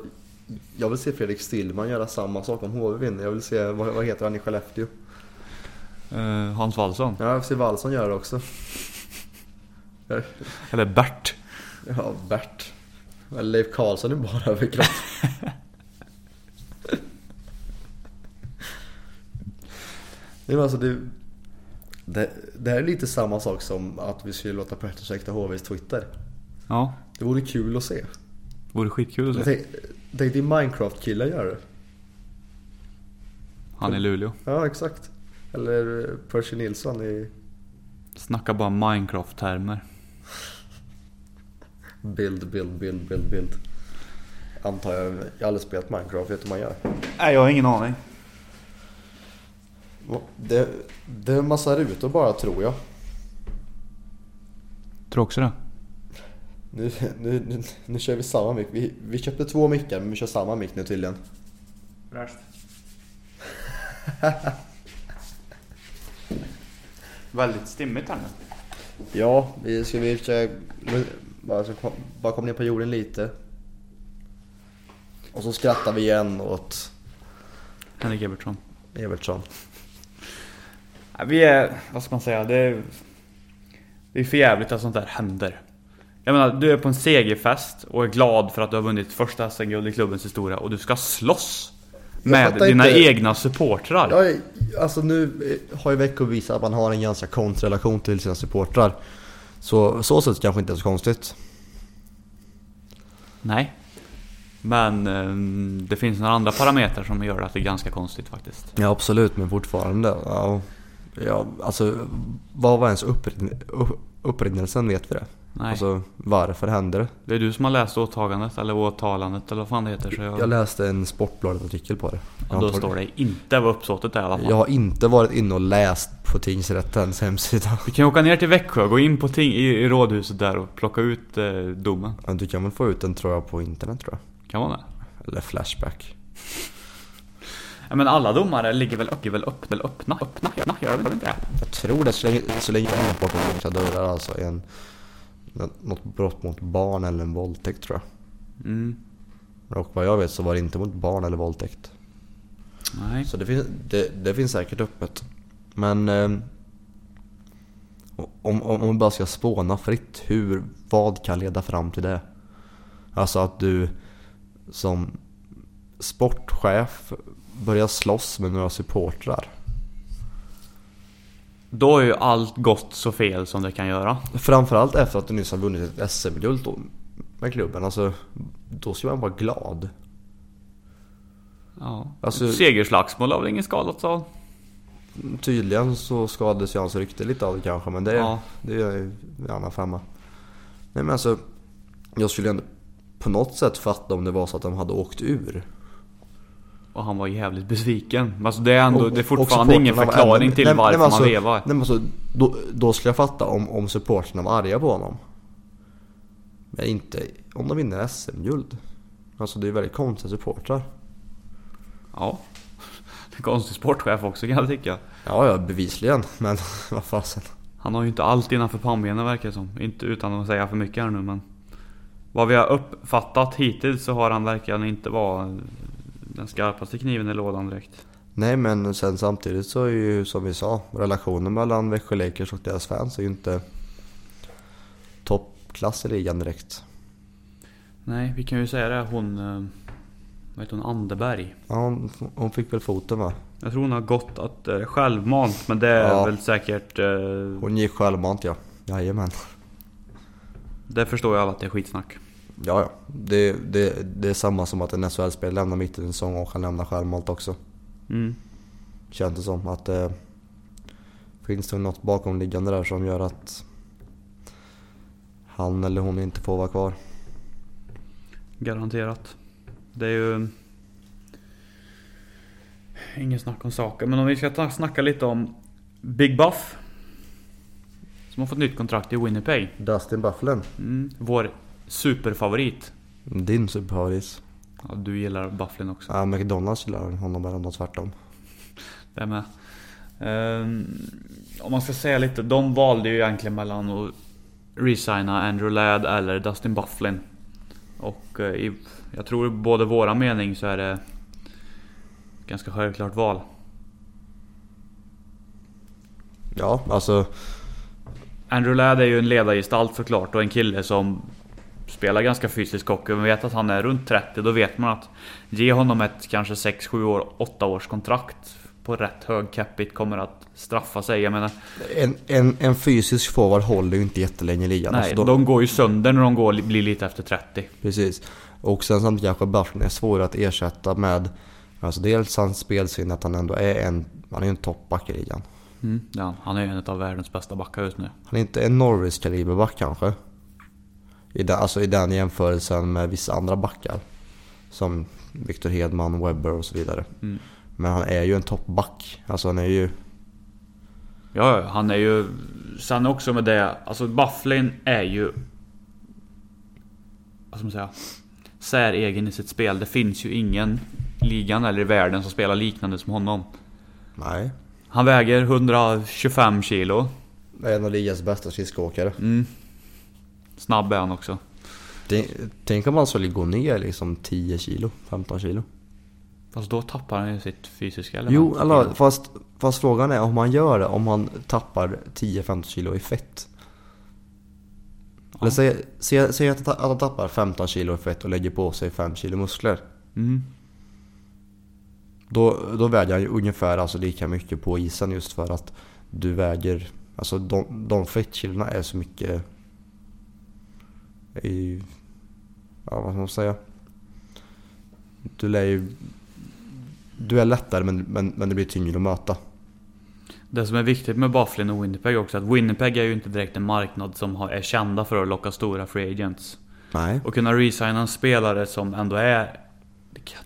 C: jag vill se Fredrik Stillman göra samma sak om HV vinner. Jag vill se, vad, vad heter han i Skellefteå?
B: Eh, Hans Wallson.
C: Ja, jag vill se Wallson göra det också.
B: Eller Bert.
C: Ja, Bert. Eller Leif Karlsson är bara överkropp. Nej, men alltså det, det, det här är lite samma sak som att vi skulle låta Petter sekta HVs Twitter.
B: Ja.
C: Det vore kul att se.
B: Vore skitkul att se.
C: Tänk tänk dig Minecraft-killar gör det.
B: Han i Luleå.
C: Ja, exakt. Eller eh, Percy Nilsson i
B: Snackar bara Minecraft-termer.
C: Bild, bild, bild, bild, bild. Antar jag. Jag har aldrig spelat Minecraft, vet du hur man gör?
B: Nej, jag har ingen aning.
C: Det, det är en massa rutor bara tror jag.
B: Tror också det.
C: Nu, nu, nu, nu kör vi samma mick. Vi, vi köpte två mickar men vi kör samma mick nu tydligen.
B: Värst. Väldigt stimmigt här nu.
C: Ja, vi ska vi försöka... Bara, så kom, bara kom ner på jorden lite. Och så skrattar vi igen åt
B: Henrik Evertsson.
C: Evertsson.
B: Ja, Vi är, vad ska man säga, det är, det är för jävligt att sånt där händer. Jag menar, du är på en segerfest och är glad för att du har vunnit första SM-guld i klubbens historia och du ska slåss med
C: fattar
B: dina
C: inte.
B: egna supportrar.
C: Ja, alltså nu har ju Växjö visat att man har en ganska konstig relation till sina supportrar. Så så sätt kanske inte är så konstigt.
B: Nej. Men ehm, det finns några andra parametrar som gör att det är ganska konstigt faktiskt.
C: Ja absolut, men fortfarande. Ja, ja, alltså, vad var ens upprin- upp- upprinnelsen vet vi det?
B: Nej.
C: Alltså varför hände det?
B: Det är du som har läst åtagandet eller åtalandet eller vad fan det heter. Så jag,
C: Jag läste en Sportbladet-artikel på det.
B: och då står det inte vad uppsåtet är i alla fall.
C: Jag har inte varit inne och läst på tingsrättens hemsida.
B: Vi kan ju åka ner till Växjö och gå in på ting, i, i rådhuset där och plocka ut eh, domen.
C: Ja, Du kan väl få ut den tror jag på internet tror jag.
B: Kan man det?
C: Eller Flashback.
B: Ja, men alla domare ligger väl, ligger väl upp, väl öppna, öppna, öppna, gör de inte det?
C: Jag tror det så länge, så länge man har bakom stängda dörrar alltså. En, något brott mot barn eller en våldtäkt tror
B: Mm,
C: jag. Och vad jag vet så var det inte mot barn eller våldtäkt.
B: nej.
C: Så det finns, det, det finns säkert öppet. Men eh, om, om, om vi bara ska spåna fritt, hur, vad kan leda fram till det? Alltså att du som sportchef börjar slåss med några supportrar.
B: Då är ju allt gott så fel som det kan göra.
C: Framförallt efter att du nyss har vunnit ett SM-guld då med klubben. Alltså, då ska man vara glad.
B: Ja.
C: Alltså-
B: Ett Segerslagsmål har väl ingen skadat så.
C: Tydligen så skadades ju hans rykte lite av det kanske, men det,
B: Ja.
C: det är ju en annan femma. Nej men alltså, jag skulle ändå på något sätt fatta om det var så att de hade åkt ur.
B: Och han var jävligt besviken. Men Alltså det är ändå,
C: Och-
B: det är
C: och
B: fortfarande ingen
C: supportrarna var
B: förklaring
C: ändå-
B: till
C: nej,
B: varför
C: nej, men alltså,
B: han vevar.
C: Nej, men alltså, då, då skulle jag fatta om, om supportrarna var arga på honom. Men inte om de vinner SM-guld. Alltså det är väldigt konstiga supportrar.
B: Ja. Det är konstig sportchef också kan jag tycka.
C: Ja, ja bevisligen. Men vad fasen.
B: Han har ju inte allt innanför pannbenen verkar det som. Inte utan att säga för mycket här nu men. Vad vi har uppfattat hittills så har han verkligen inte vara den skarpaste kniven i lådan direkt.
C: Nej men sen samtidigt så är ju som vi sa relationen mellan Växjö Lakers och deras fans är ju inte toppklass i ligan direkt.
B: Nej, vi kan ju säga det. Hon... eh, Vad heter hon? Anderberg.
C: Ja, hon, hon fick väl foten va?
B: Jag tror hon har gått att eh, självmant men det är
C: Ja.
B: väl säkert... eh,
C: Hon gick självmant ja. Jajamän.
B: Det förstår jag alla att det är skitsnack.
C: Ja, ja. Det, det, det är samma som att en SHL-spelare lämnar mitt i en säsong och kan lämna självmant också.
B: Mm.
C: Känns det som att eh, finns det något bakomliggande där som gör att han eller hon inte får vara kvar.
B: Garanterat. Det är ju... Ingen snack om saken. Men om vi ska ta- snacka lite om Big Buff. Som har fått nytt kontrakt i Winnipeg.
C: Dustin Bufflin.
B: Mm. Vår superfavorit.
C: Din superfavorit.
B: Ja, du gillar Bufflin också.
C: Ja, McDonalds gillar honom eller något tvärtom.
B: Det med. Ehm, om man ska säga lite. De valde ju egentligen mellan att resigna Andrew Ladd eller Dustin Bufflin. Och eh, i, jag tror i både våra mening så är det ganska självklart val.
C: Ja, alltså.
B: Andrew Ladd är ju en ledargestalt såklart och en kille som spelar ganska fysisk hockey. Man vet att han är runt 30, då vet man att ge honom ett kanske 6, 7 år, 8 års kontrakt på rätt hög capita kommer att straffa sig. Jag menar,
C: En, en, en fysisk forward håller ju inte jättelänge i ligan.
B: nej,
C: alltså, då-
B: de går ju sönder när de går, blir lite efter 30.
C: Precis. Och sen samtidigt kanske Bufflin är svårare att ersätta med alltså dels hans spelsinne, att han ändå är en, han är ju en toppback i ligan.
B: Mm. Ja, han är ju en av världens bästa backar just nu.
C: Han är inte en Norris-kaliberback kanske. I den, alltså i den jämförelsen med vissa andra backar. Som Victor Hedman, Webber och så vidare.
B: Mm.
C: Men han är ju en toppback. Alltså han är ju...
B: Ja, ja, han är ju... Sen också med det, alltså Bufflin är ju... Vad ska man säga? Säregen i sitt spel. Det finns ju ingen i ligan eller i världen som spelar liknande som honom.
C: Nej.
B: Han väger 125 kilo.
C: Är en av ligans bästa skridskoåkare.
B: Mm. Snabb är han också.
C: Tänk- Tänk om han skulle gå ner liksom 10 kilo, 15 kilo.
B: Fast då tappar han ju sitt fysiska element.
C: Jo, alla, fast, fast frågan är om han gör det, om han tappar 10-15 kilo i fett. Eller säg, säg, säg att han ta- att han tappar 15 kilo i fett och lägger på sig 5 kilo muskler.
B: Mm.
C: Då, då väger han ju ungefär alltså lika mycket på isen just för att du väger... Alltså de, de fettkilorna är så mycket... I, ja, vad ska man säga? Du lär ju... Du är lättare men, men, men det blir tyngre att möta.
B: Det som är viktigt med Bufflin och Winnipeg också, att Winnipeg är ju inte direkt en marknad som har- är kända för att locka stora free agents.
C: Nej.
B: Och kunna resigna en spelare som ändå är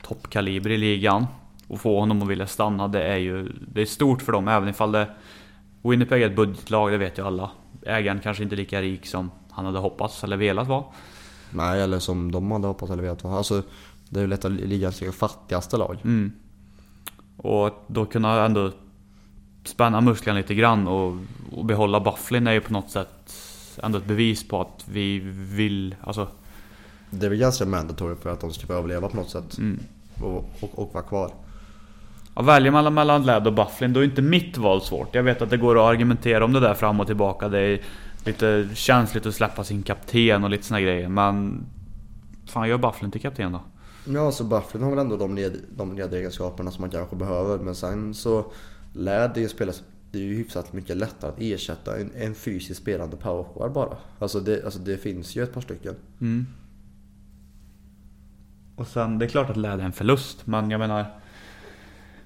B: toppkaliber i ligan och få honom att vilja stanna, det är ju det är stort för dem. Även ifall det... Winnipeg är ett budgetlag, det vet ju alla. Ägaren kanske inte är lika rik som han hade hoppats eller velat vara.
C: Nej, eller som de hade hoppats eller vetat. Alltså, det är ju lätt att ligga i fattigaste lag.
B: Mm. Och att då kunna ändå spänna musklerna lite grann och, och behålla Bufflin är ju på något sätt ändå ett bevis på att vi vill... Alltså,
C: Det är väl ganska mandatory för att de ska få överleva på något sätt.
B: mm.
C: Och, och, och vara kvar.
B: Ja, väljer man mellan Ladd och Bufflin då är inte mitt val svårt. Jag vet att det går att argumentera om det där fram och tillbaka. Det är lite känsligt att släppa sin kapten och lite såna grejer. Men... Fan, gör Bufflin till kapten då.
C: Ja, så Bufflin har väl ändå de, led, de ledaregenskaperna som man kanske behöver. Men sen så lär det ju spelas... Det är ju hyfsat mycket lättare att ersätta en, en fysiskt spelande powerforward bara. Alltså det, alltså det finns ju ett par stycken.
B: Mm. Och sen, det är klart att Ladd är en förlust, men jag menar...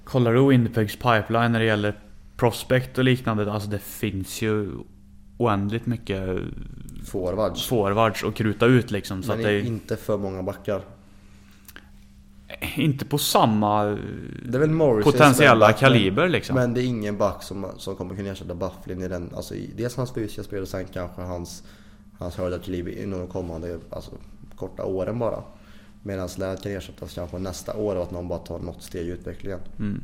B: Kollar du Winnipegs pipeline när det gäller prospect och liknande. Alltså det finns ju oändligt mycket
C: Forwards.
B: forwards att kruta ut liksom. Så
C: Men
B: att det är...
C: inte för många backar.
B: inte på samma
C: Det är väl Morrissey som är
B: potentiella
C: backen,
B: kaliber liksom.
C: Men det är ingen back som, som kommer kunna ersätta Bufflin i den, alltså i, dels hans fysiska spel och sen kanske hans, hans höjdarartilleri inom de kommande, alltså korta åren bara. Medan Ladd kan ersättas kanske nästa år och att någon bara tar något steg i utvecklingen.
B: Mm.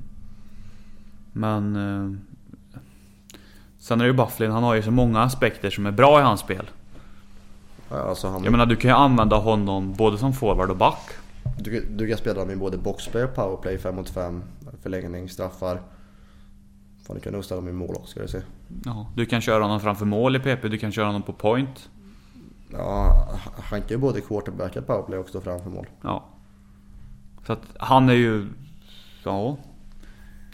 B: Men... Eh, sen är det ju Bufflin, han har ju så många aspekter som är bra i hans spel.
C: Ja, Alltså han,
B: Jag menar du kan ju använda honom både som forward och back.
C: du, du kan spela dem i både boxplay och powerplay, 5 mot 5, förlängning, straffar. Fan, du kan nog ställa dem i mål också ska du se.
B: Ja, du kan köra honom framför mål i PP, du kan köra honom på point.
C: Ja, han kan ju både quarterbacka powerplay och stå framför mål.
B: Ja. Så att han är ju... Ja.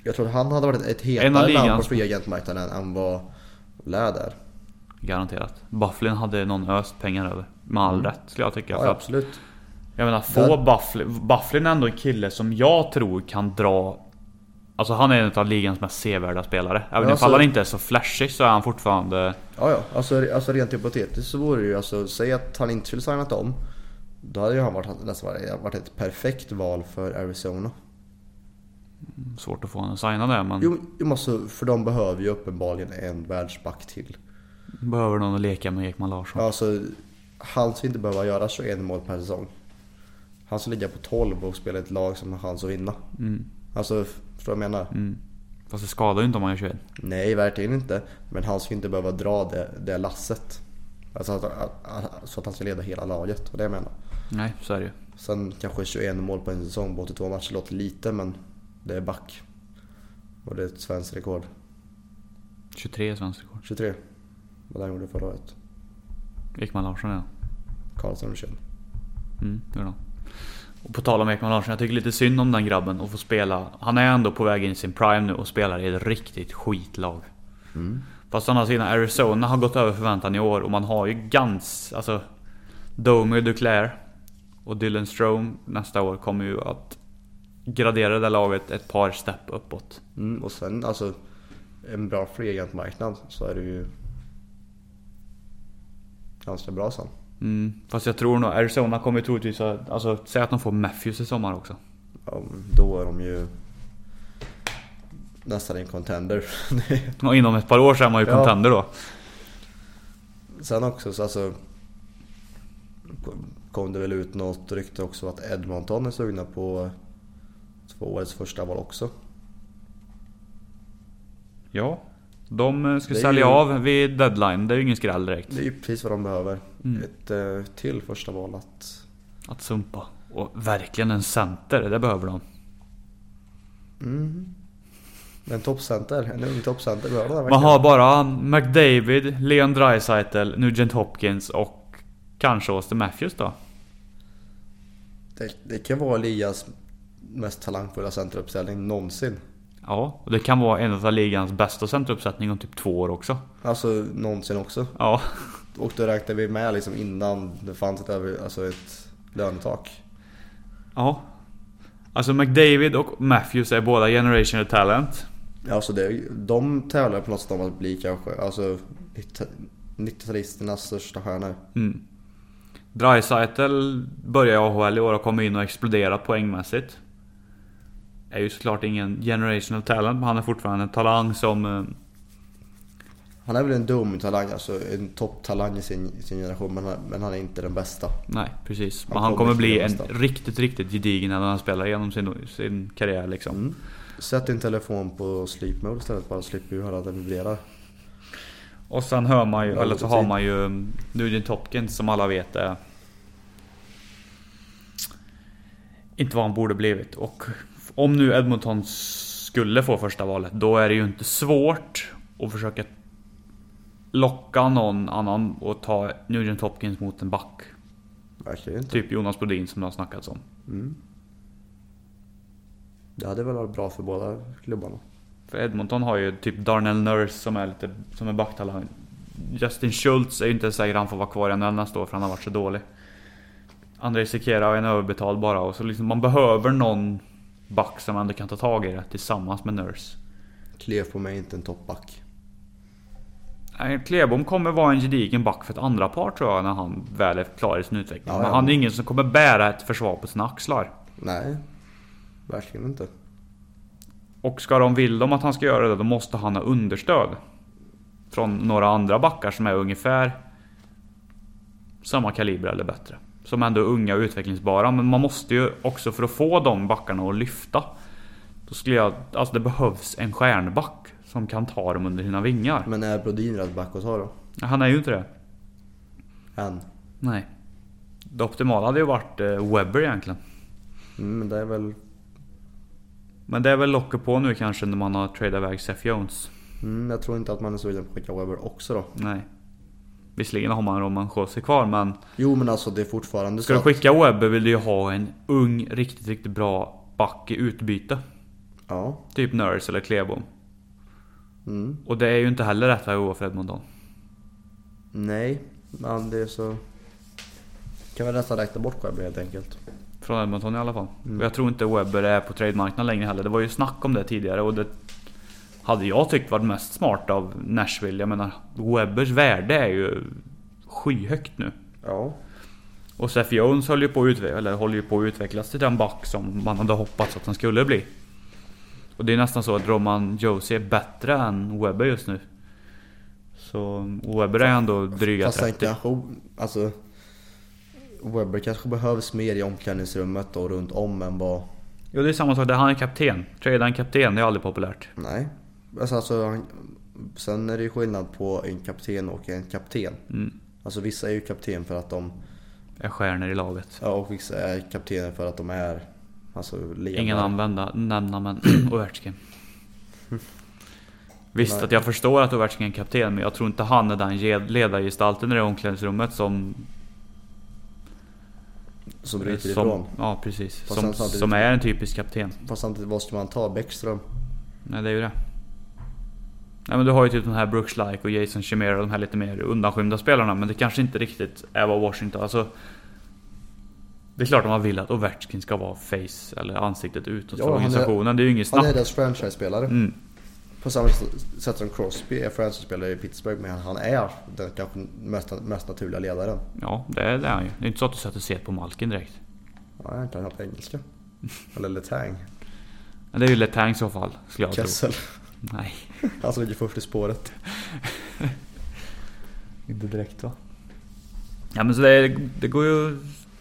C: Jag tror att han hade varit ett
B: En av
C: hetare namn
B: ligans-
C: på fria agentmarknaden än vad Lä där.
B: Garanterat. Bufflin hade någon öst pengar över. Med all rätt skulle jag tycka.
C: Mm. Ja,
B: För att-
C: absolut.
B: Jag menar, få
C: Där-
B: Bufflin. Bufflin är ändå en kille som jag tror kan dra... Alltså han är en av ligans mest sevärda spelare. Även
C: Ja, alltså-
B: ifall han inte är så flashig så är han fortfarande...
C: Ja, ja. Alltså, alltså rent hypotetiskt så vore det ju, alltså, säg att han inte skulle signat om. Då hade ju han varit, nästan varit, varit ett perfekt val för Arizona.
B: Svårt att få honom att signa det men...
C: Jo, jo men alltså, för de behöver ju uppenbarligen en världsback till.
B: Behöver någon att leka med Ekman Larsson.
C: Alltså, han skulle inte behöva göra 21 mål per säsong. Han skulle ligga på 12 och spela i ett lag som har chans att vinna.
B: Mm.
C: Alltså, förstår du vad jag menar?
B: Fast det skadar ju inte om han gör 21.
C: Nej, verkligen inte. Men han ska inte behöva dra det, det lasset. Alltså att, att, att, så att han ska leda hela laget, och det jag menar.
B: Nej, så är det ju.
C: Sen kanske 21 mål på en säsong på 82 matcher låter lite, men det är back. Och det är ett svenskt rekord.
B: 23 är svensk rekord.
C: 23. Vad han gjorde förra året.
B: Ekman Larsson ja.
C: Karlsson och 21.
B: Mm, det gjorde han. Och på tal om Ekman Larsson, jag tycker lite synd om den grabben att få spela. Han är ändå på väg in i sin prime nu och spelar i ett riktigt skitlag. Fast å andra sidan, Arizona har gått över förväntan i år och man har ju gans... Alltså... Domi Duclair och Dylan Strome nästa år kommer ju att gradera det där laget ett par steg uppåt.
C: Mm, och sen alltså, en bra free agent-marknad så är det ju ganska bra sen.
B: Mm. Fast jag tror nog Arizona kommer ju troligtvis att... Alltså, säg att de får Matthews i sommar också.
C: Ja, då är de ju nästan en contender.
B: Och inom ett par år så är man ju
C: Ja.
B: contender då.
C: Sen också så alltså kom det väl ut något rykte också att Edmonton är sugna på två årets första val också.
B: Ja. De eh, ska
C: Det är
B: sälja
C: ju-
B: av vid deadline. Det är ju ingen skräll direkt.
C: Det är ju precis vad de behöver.
B: Mm.
C: Ett eh, till första val att...
B: Att sumpa. Och verkligen en center, det behöver de.
C: Mm. En toppcenter, en ung toppcenter behöver de
B: Man
C: verkligen.
B: har bara McDavid, Leon Draisaitl, Nugent Hopkins och kanske Austin Matthews då.
C: Det, det kan vara Elias mest talangfulla centeruppställning någonsin.
B: Ja, och det kan vara en av ligans bästa centeruppsättning om typ två år också.
C: Alltså någonsin också.
B: Ja,
C: Och då räknar vi med liksom innan det fanns ett, över- alltså ett lönetak.
B: ja. Alltså McDavid och Matthews är båda generational talent.
C: Alltså det, de tävlar på något sätt om att bli kanske alltså, 90-talisternas största stjärnor.
B: Mm. Dreisaitl börjar i AHL i år och kommer in och exploderar poängmässigt. Är ju såklart ingen generational talent men han är fortfarande en talang som... eh,
C: Han är väl en domtalang, alltså en topptalang i sin, i sin generation men han, men han är inte den bästa.
B: Nej precis. Men
C: Han
B: han,
C: kommer
B: kommer bli en
C: nästa.
B: riktigt, riktigt gedigen när han spelar genom sin, sin karriär liksom.
C: Sätt din telefon på sleep mode istället bara slipper du höra att den vibrerar.
B: Och sen hör man ju,
C: Ja,
B: eller så
C: precis.
B: har man ju um, Nugent Hopkins som alla vet är... Inte vad han borde blivit. Och om nu Edmonton skulle få första valet, då är det ju inte svårt att försöka locka någon annan och ta Nugent Hopkins mot en back.
C: Verkligen inte.
B: Typ Jonas Brodin som det har snackats om.
C: Det hade väl varit bra för båda klubbarna.
B: För Edmonton har ju typ Darnell Nurse som är lite som en backtalang. Justin Schultz är ju inte säker han får vara kvar i NHL nästa år för han har varit så dålig. Andrei Sekera är en överbetald bara och så liksom man behöver någon back som ändå kan ta tag i det tillsammans med Nurse.
C: Klev på mig inte en toppback.
B: Nej, Klebom kommer vara en gedigen back för ett andra par tror jag när han väl är klar i sin utveckling.
C: Ja, ja.
B: Men han är ingen som kommer bära ett försvar på sina axlar.
C: Nej. Verkligen inte.
B: Och ska de vill de att han ska göra det, då måste han ha understöd. Från några andra backar som är ungefär samma kaliber eller bättre. Som ändå är unga och utvecklingsbara, men man måste ju också för att få de backarna att lyfta. Då skulle jag... Alltså det behövs en stjärnback som kan ta dem under sina vingar.
C: Men är Brodin rätt back att ta då?
B: Han är ju inte det.
C: Än.
B: Nej. Det optimala hade ju varit eh, Webber egentligen.
C: Mm, men det är väl...
B: Men det är väl locket på nu kanske när man har tradat iväg Seth Jones.
C: Mm, jag tror inte att man är så villig på att skicka Webber också då.
B: Nej. Visserligen har man Roman Jose kvar men...
C: Jo men alltså det är fortfarande
B: Ska du
C: så att...
B: skicka Webber vill du ju ha en ung, riktigt, riktigt bra back i utbyte.
C: Ja.
B: Typ Nurse eller Klebom.
C: Mm.
B: Och det är ju inte heller rätt väg att gå för Edmonton.
C: Nej. Men det är så... Kan väl nästan räkna bort Webber helt enkelt.
B: Från Edmonton i alla fall. Och jag tror inte Webber är på trademarknaden längre heller. Det var ju snack om det tidigare och det... Hade jag tyckt varit mest smart av Nashville. Jag menar, Webbers värde är ju skyhögt nu.
C: Ja.
B: Och Seth Jones håller ju på att utvecklas, eller håller ju på att utvecklas till den back som man hade hoppats att han skulle bli. Och det är nästan så att Roman Josie är bättre än Webber just nu. Så Webber är ändå dryga
C: Fast sen
B: 30.
C: kanske... Alltså... Webber kanske behövs mer i omklädningsrummet och runt om än vad...
B: Jo det är samma sak där, han är kapten. Trada en kapten, det är aldrig populärt.
C: Nej. Alltså, alltså, han- sen är det ju skillnad på en kapten och en kapten.
B: Mm.
C: Alltså vissa är ju kapten för att de...
B: Är stjärnor i laget.
C: Ja, och vissa är kaptener för att de är... Alltså ledare.
B: Ingen använda, nämna men Ovechkin. Visst
C: Nej.
B: att jag förstår att Ovechkin är en kapten men jag tror inte han är den ge- ledargestalten i det omklädningsrummet som
C: Som bryter
B: som,
C: ifrån.
B: Ja precis.
C: Fast
B: Som,
C: sen samtidigt-
B: som är en typisk kapten.
C: Fast samtidigt, vad ska man ta? Bäckström?
B: Nej det är ju det. Nej men du har ju typ de här Brooks Like och Jason Chimera de här lite mer undanskymda spelarna. Men det kanske inte riktigt är vad Washington... Alltså... Det är klart att man vill att Ovechkin ska vara face eller ansiktet utåt
C: Ja,
B: för
C: han är-
B: organisationen. det är ju inget
C: Han är
B: snack.
C: deras franchise-spelare.
B: Mm.
C: På samma sätt som Crosby är franchise-spelare i Pittsburgh, men han är den kanske mest, mest naturliga ledaren.
B: Ja, det är det är han ju. Det är inte så att du sätter set på Malkin direkt.
C: Ja, han kan knappt engelska. Eller Letang.
B: Men det är ju Letang i så fall, skulle jag tro.
C: Kessel.
B: Nej.
C: Han som ligger först i spåret.
B: Inte direkt va? Ja men så det, det går ju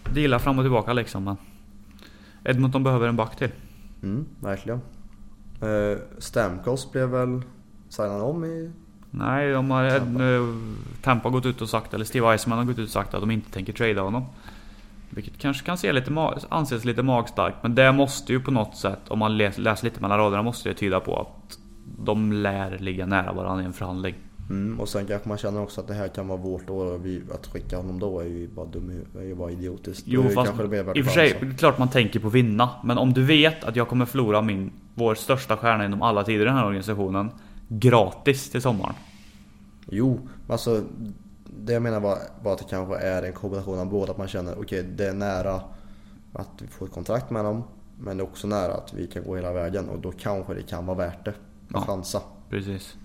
B: att deala fram och tillbaka liksom men... Edmonton behöver en back till.
C: Mm, verkligen. Eh, Stamkos blev väl signad om i...
B: Nej, de har,
C: Tampa.
B: eh, Tampa har gått ut och sagt, eller Steve Eisenman har gått ut och sagt att de inte tänker trada honom. Vilket kanske kan se lite ma- anses lite magstarkt, men det måste ju på något sätt, om man läs, läser lite mellan raderna, måste det tyda på att de lär ligga nära varandra i en förhandling.
C: Mm, och sen kanske man känner också att det här kan vara vårt år och vi, att skicka honom då är ju bara dum i huvudet, är ju bara idiotiskt.
B: Jo,
C: Det är ju
B: fast
C: kanske det mer värt
B: i och för sig, det
C: chansen.
B: är klart man tänker på vinna. Men om du vet att jag kommer förlora min, vår största stjärna inom alla tider i den här organisationen, gratis till sommaren.
C: Jo, men alltså det jag menar var, var att det kanske är en kombination av båda. Att man känner okej, det är nära att vi får ett kontrakt med dem. Men det är också nära att vi kan gå hela vägen och då kanske det kan vara värt det. Att
B: Ja.
C: chansa.
B: Precis.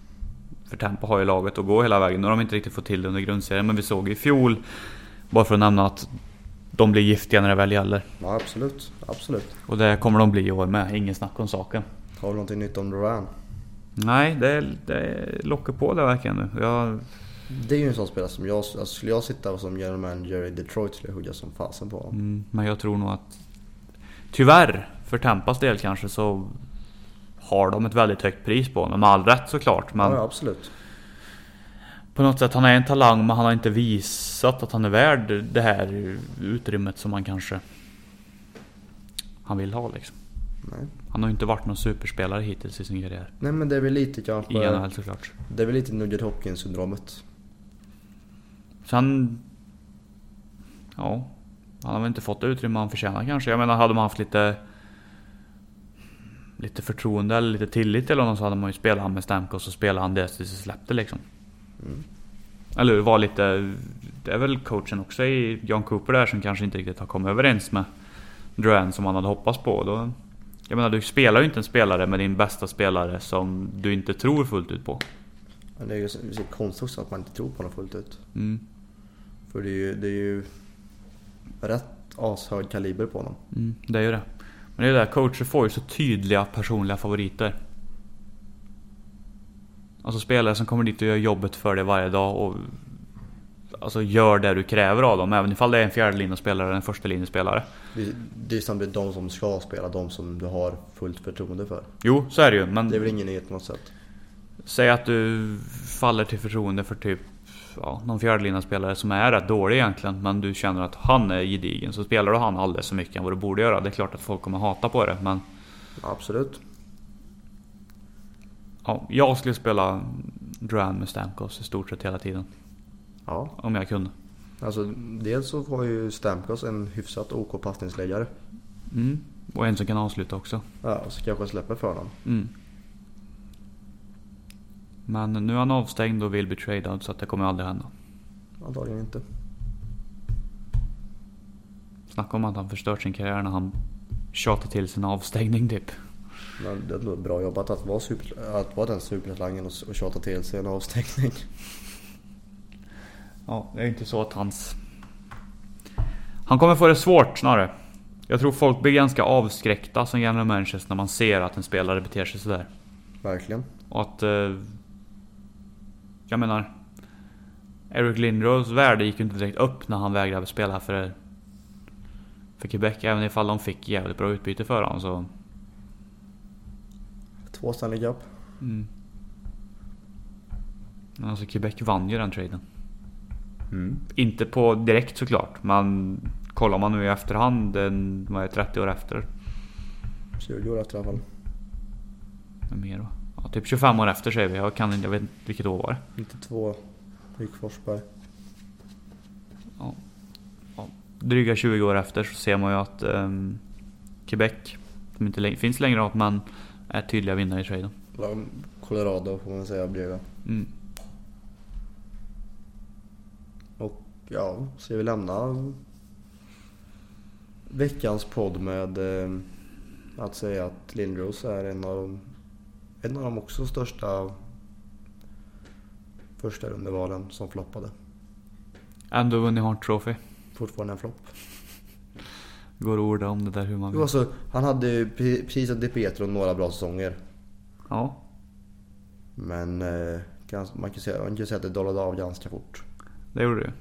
B: För Tampa har ju laget att gå hela vägen. Nu har de inte riktigt fått till det under grundserien, men vi såg i fjol, bara för att nämna att de blir giftiga när det väl gäller.
C: Ja, absolut. Absolut.
B: Och det kommer de bli i år med, ingen snack om saken.
C: Har du någonting nytt om Duran?
B: Nej, det, det lockar på det verkligen nu. Jag,
C: Det är ju en sån spelare som jag... Alltså, skulle jag sitta som general manager i Detroit skulle jag hugga som fasen på honom.
B: mm, men jag tror nog att... Tyvärr, för Tampas del kanske, så har de ett väldigt högt pris på honom. Med all rätt såklart, men...
C: Ja, ja, absolut.
B: På något sätt, han är en talang men han har inte visat att han är värd det här utrymmet som han kanske... Han vill ha liksom.
C: Nej.
B: Han har ju inte varit någon superspelare hittills i sin karriär.
C: Nej men det är väl lite
B: I
C: kanske...
B: NHL såklart.
C: Det är väl lite Nugget Hopkins-syndromet.
B: Så han... Ja. Han har väl inte fått det utrymme han förtjänar kanske. Jag menar, hade man haft lite... Lite förtroende eller lite tillit till honom så hade man ju spelat han med Stamkos och spelat han det tills det släppte liksom. Eller hur? Var lite... Det är väl coachen också i John Cooper där som kanske inte riktigt har kommit överens med Duran som han hade hoppats på. Då, jag menar, du spelar ju inte en spelare med din bästa spelare som du inte tror fullt ut på.
C: Men det är ju så, det är så konstigt också att man inte tror på honom fullt ut.
B: Mm.
C: För det är ju, det är ju rätt ashög kaliber på honom.
B: Mm, det är ju det. Men det är det, där, coacher får ju så tydliga personliga favoriter. Alltså spelare som kommer dit och gör jobbet för dig varje dag och... Alltså gör det du kräver av dem, även ifall det är en fjärde linjespelare eller en första linjespelare.
C: Det, det är samtidigt de som ska spela, de som du har fullt förtroende för.
B: Jo, så är det ju, men...
C: Det är väl ingen nyhet på något sätt.
B: Säg att du faller till förtroende för typ ja, någon fjärdelinjespelare som är rätt dålig egentligen men du känner att han är gedigen så spelar du han alldeles för mycket än vad du borde göra. Det är klart att folk kommer hata på det men
C: Absolut.
B: ja, jag skulle spela Duran med Stamkos i stort sett hela tiden.
C: Ja,
B: Om jag kunde.
C: alltså dels så har ju Stamkos en hyfsat OK passningsläggare.
B: Mm. Och en som kan avsluta också.
C: Ja, och så kanske jag släpper för honom.
B: Mm. Men nu är han avstängd och vill bli tradad så att det kommer aldrig hända.
C: Antagligen inte.
B: Snacka om att han förstört sin karriär när han tjatade till sin avstängning typ.
C: Men det är nog bra jobbat att vara, super, att vara den supertalangen och, och tjata till sig en avstängning.
B: Ja, det är inte så att hans... Han kommer få det svårt snarare. Jag tror folk blir ganska avskräckta som gamla människor när man ser att en spelare beter sig sådär.
C: Verkligen.
B: Och att... Eh, jag menar... Eric Lindros värde gick ju inte direkt upp när han vägrade spela för... För Quebec, även ifall de fick jävligt bra utbyte för honom så...
C: Två Stanley Cup.
B: Mm. Men Alltså Quebec vann ju den traden. Inte på direkt såklart, men kollar man nu i efterhand, den var ju 30 år efter.
C: 20 år efter i alla fall.
B: Eller Mer va? Ja, typ 25 år efter säger vi. Jag kan inte, jag vet inte vilket år var det.
C: 92. Gick Forsberg.
B: Dryga 20 år efter så ser man ju att ehm, Quebec, som inte läng- finns längre, men är tydliga vinnare i traden.
C: Lag- Colorado får man säga blev det.
B: Mm.
C: Ja, ska vi lämna veckans podd med eh, att säga att Lindros är en av de, en av de också största första rundevalen som floppade.
B: Ändå vunnit Hart Trophy.
C: Fortfarande en flopp.
B: Går att orda om det där hur man
C: Jo,
B: vill.
C: alltså, han hade ju pre- precis som Di Pietro några bra säsonger.
B: Ja.
C: Men eh, gans- man kan ju säga, man kan ju säga att det dollade av ganska fort.
B: Det gjorde det ju.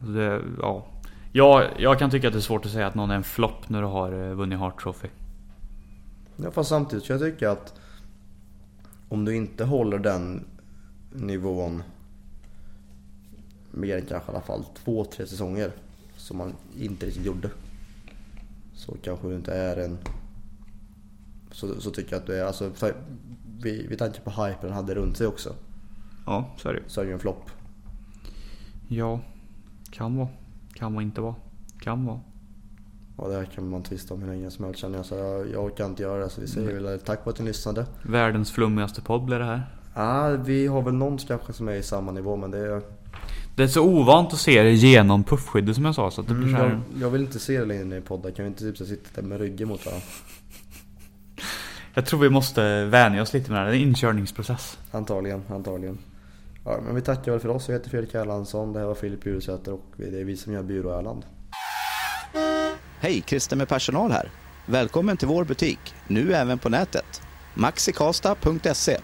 B: Alltså Det, ja. Jag, jag kan tycka att det är svårt att säga att någon är en flopp när du har eh, vunnit Hart Trophy.
C: Ja, fast samtidigt så jag tycker att om du inte håller den nivån mer än kanske i alla fall två, tre säsonger som man inte riktigt gjorde. Så kanske du inte är en... Så, så tycker jag att du är, alltså för, vi, vi tänker på hypen han hade runt sig också.
B: Ja, så är det ju.
C: Så är det ju en flopp.
B: Ja. Kan vara. Kan vara inte vara. Kan vara.
C: Och det här kan man tvista om hur länge som helst känner jag. Så jag, jag orkar inte göra det. Så vi säger väl tack för att ni lyssnade.
B: Världens flummigaste podd blir det här.
C: Ah, vi har väl någon kanske som är i samma nivå men det är...
B: Det är så ovant att se det genom puffskyddet som jag sa så att det blir så här.
C: Mm, Jag, jag vill inte se det längre ner i podden. Kan vi inte typ så här sitta där med ryggen mot varandra?
B: Jag tror vi måste vänja oss lite med det här. Det är en inkörningsprocess.
C: Antagligen, antagligen. Ja, men vi tackar väl för oss. Jag heter Fredrik Erlandsson. Det här var Filip Bjursäter och det är vi som gör Byrå Erland.
A: Hej, Christer med personal här. Välkommen till vår butik, nu även på nätet. maxikasta.se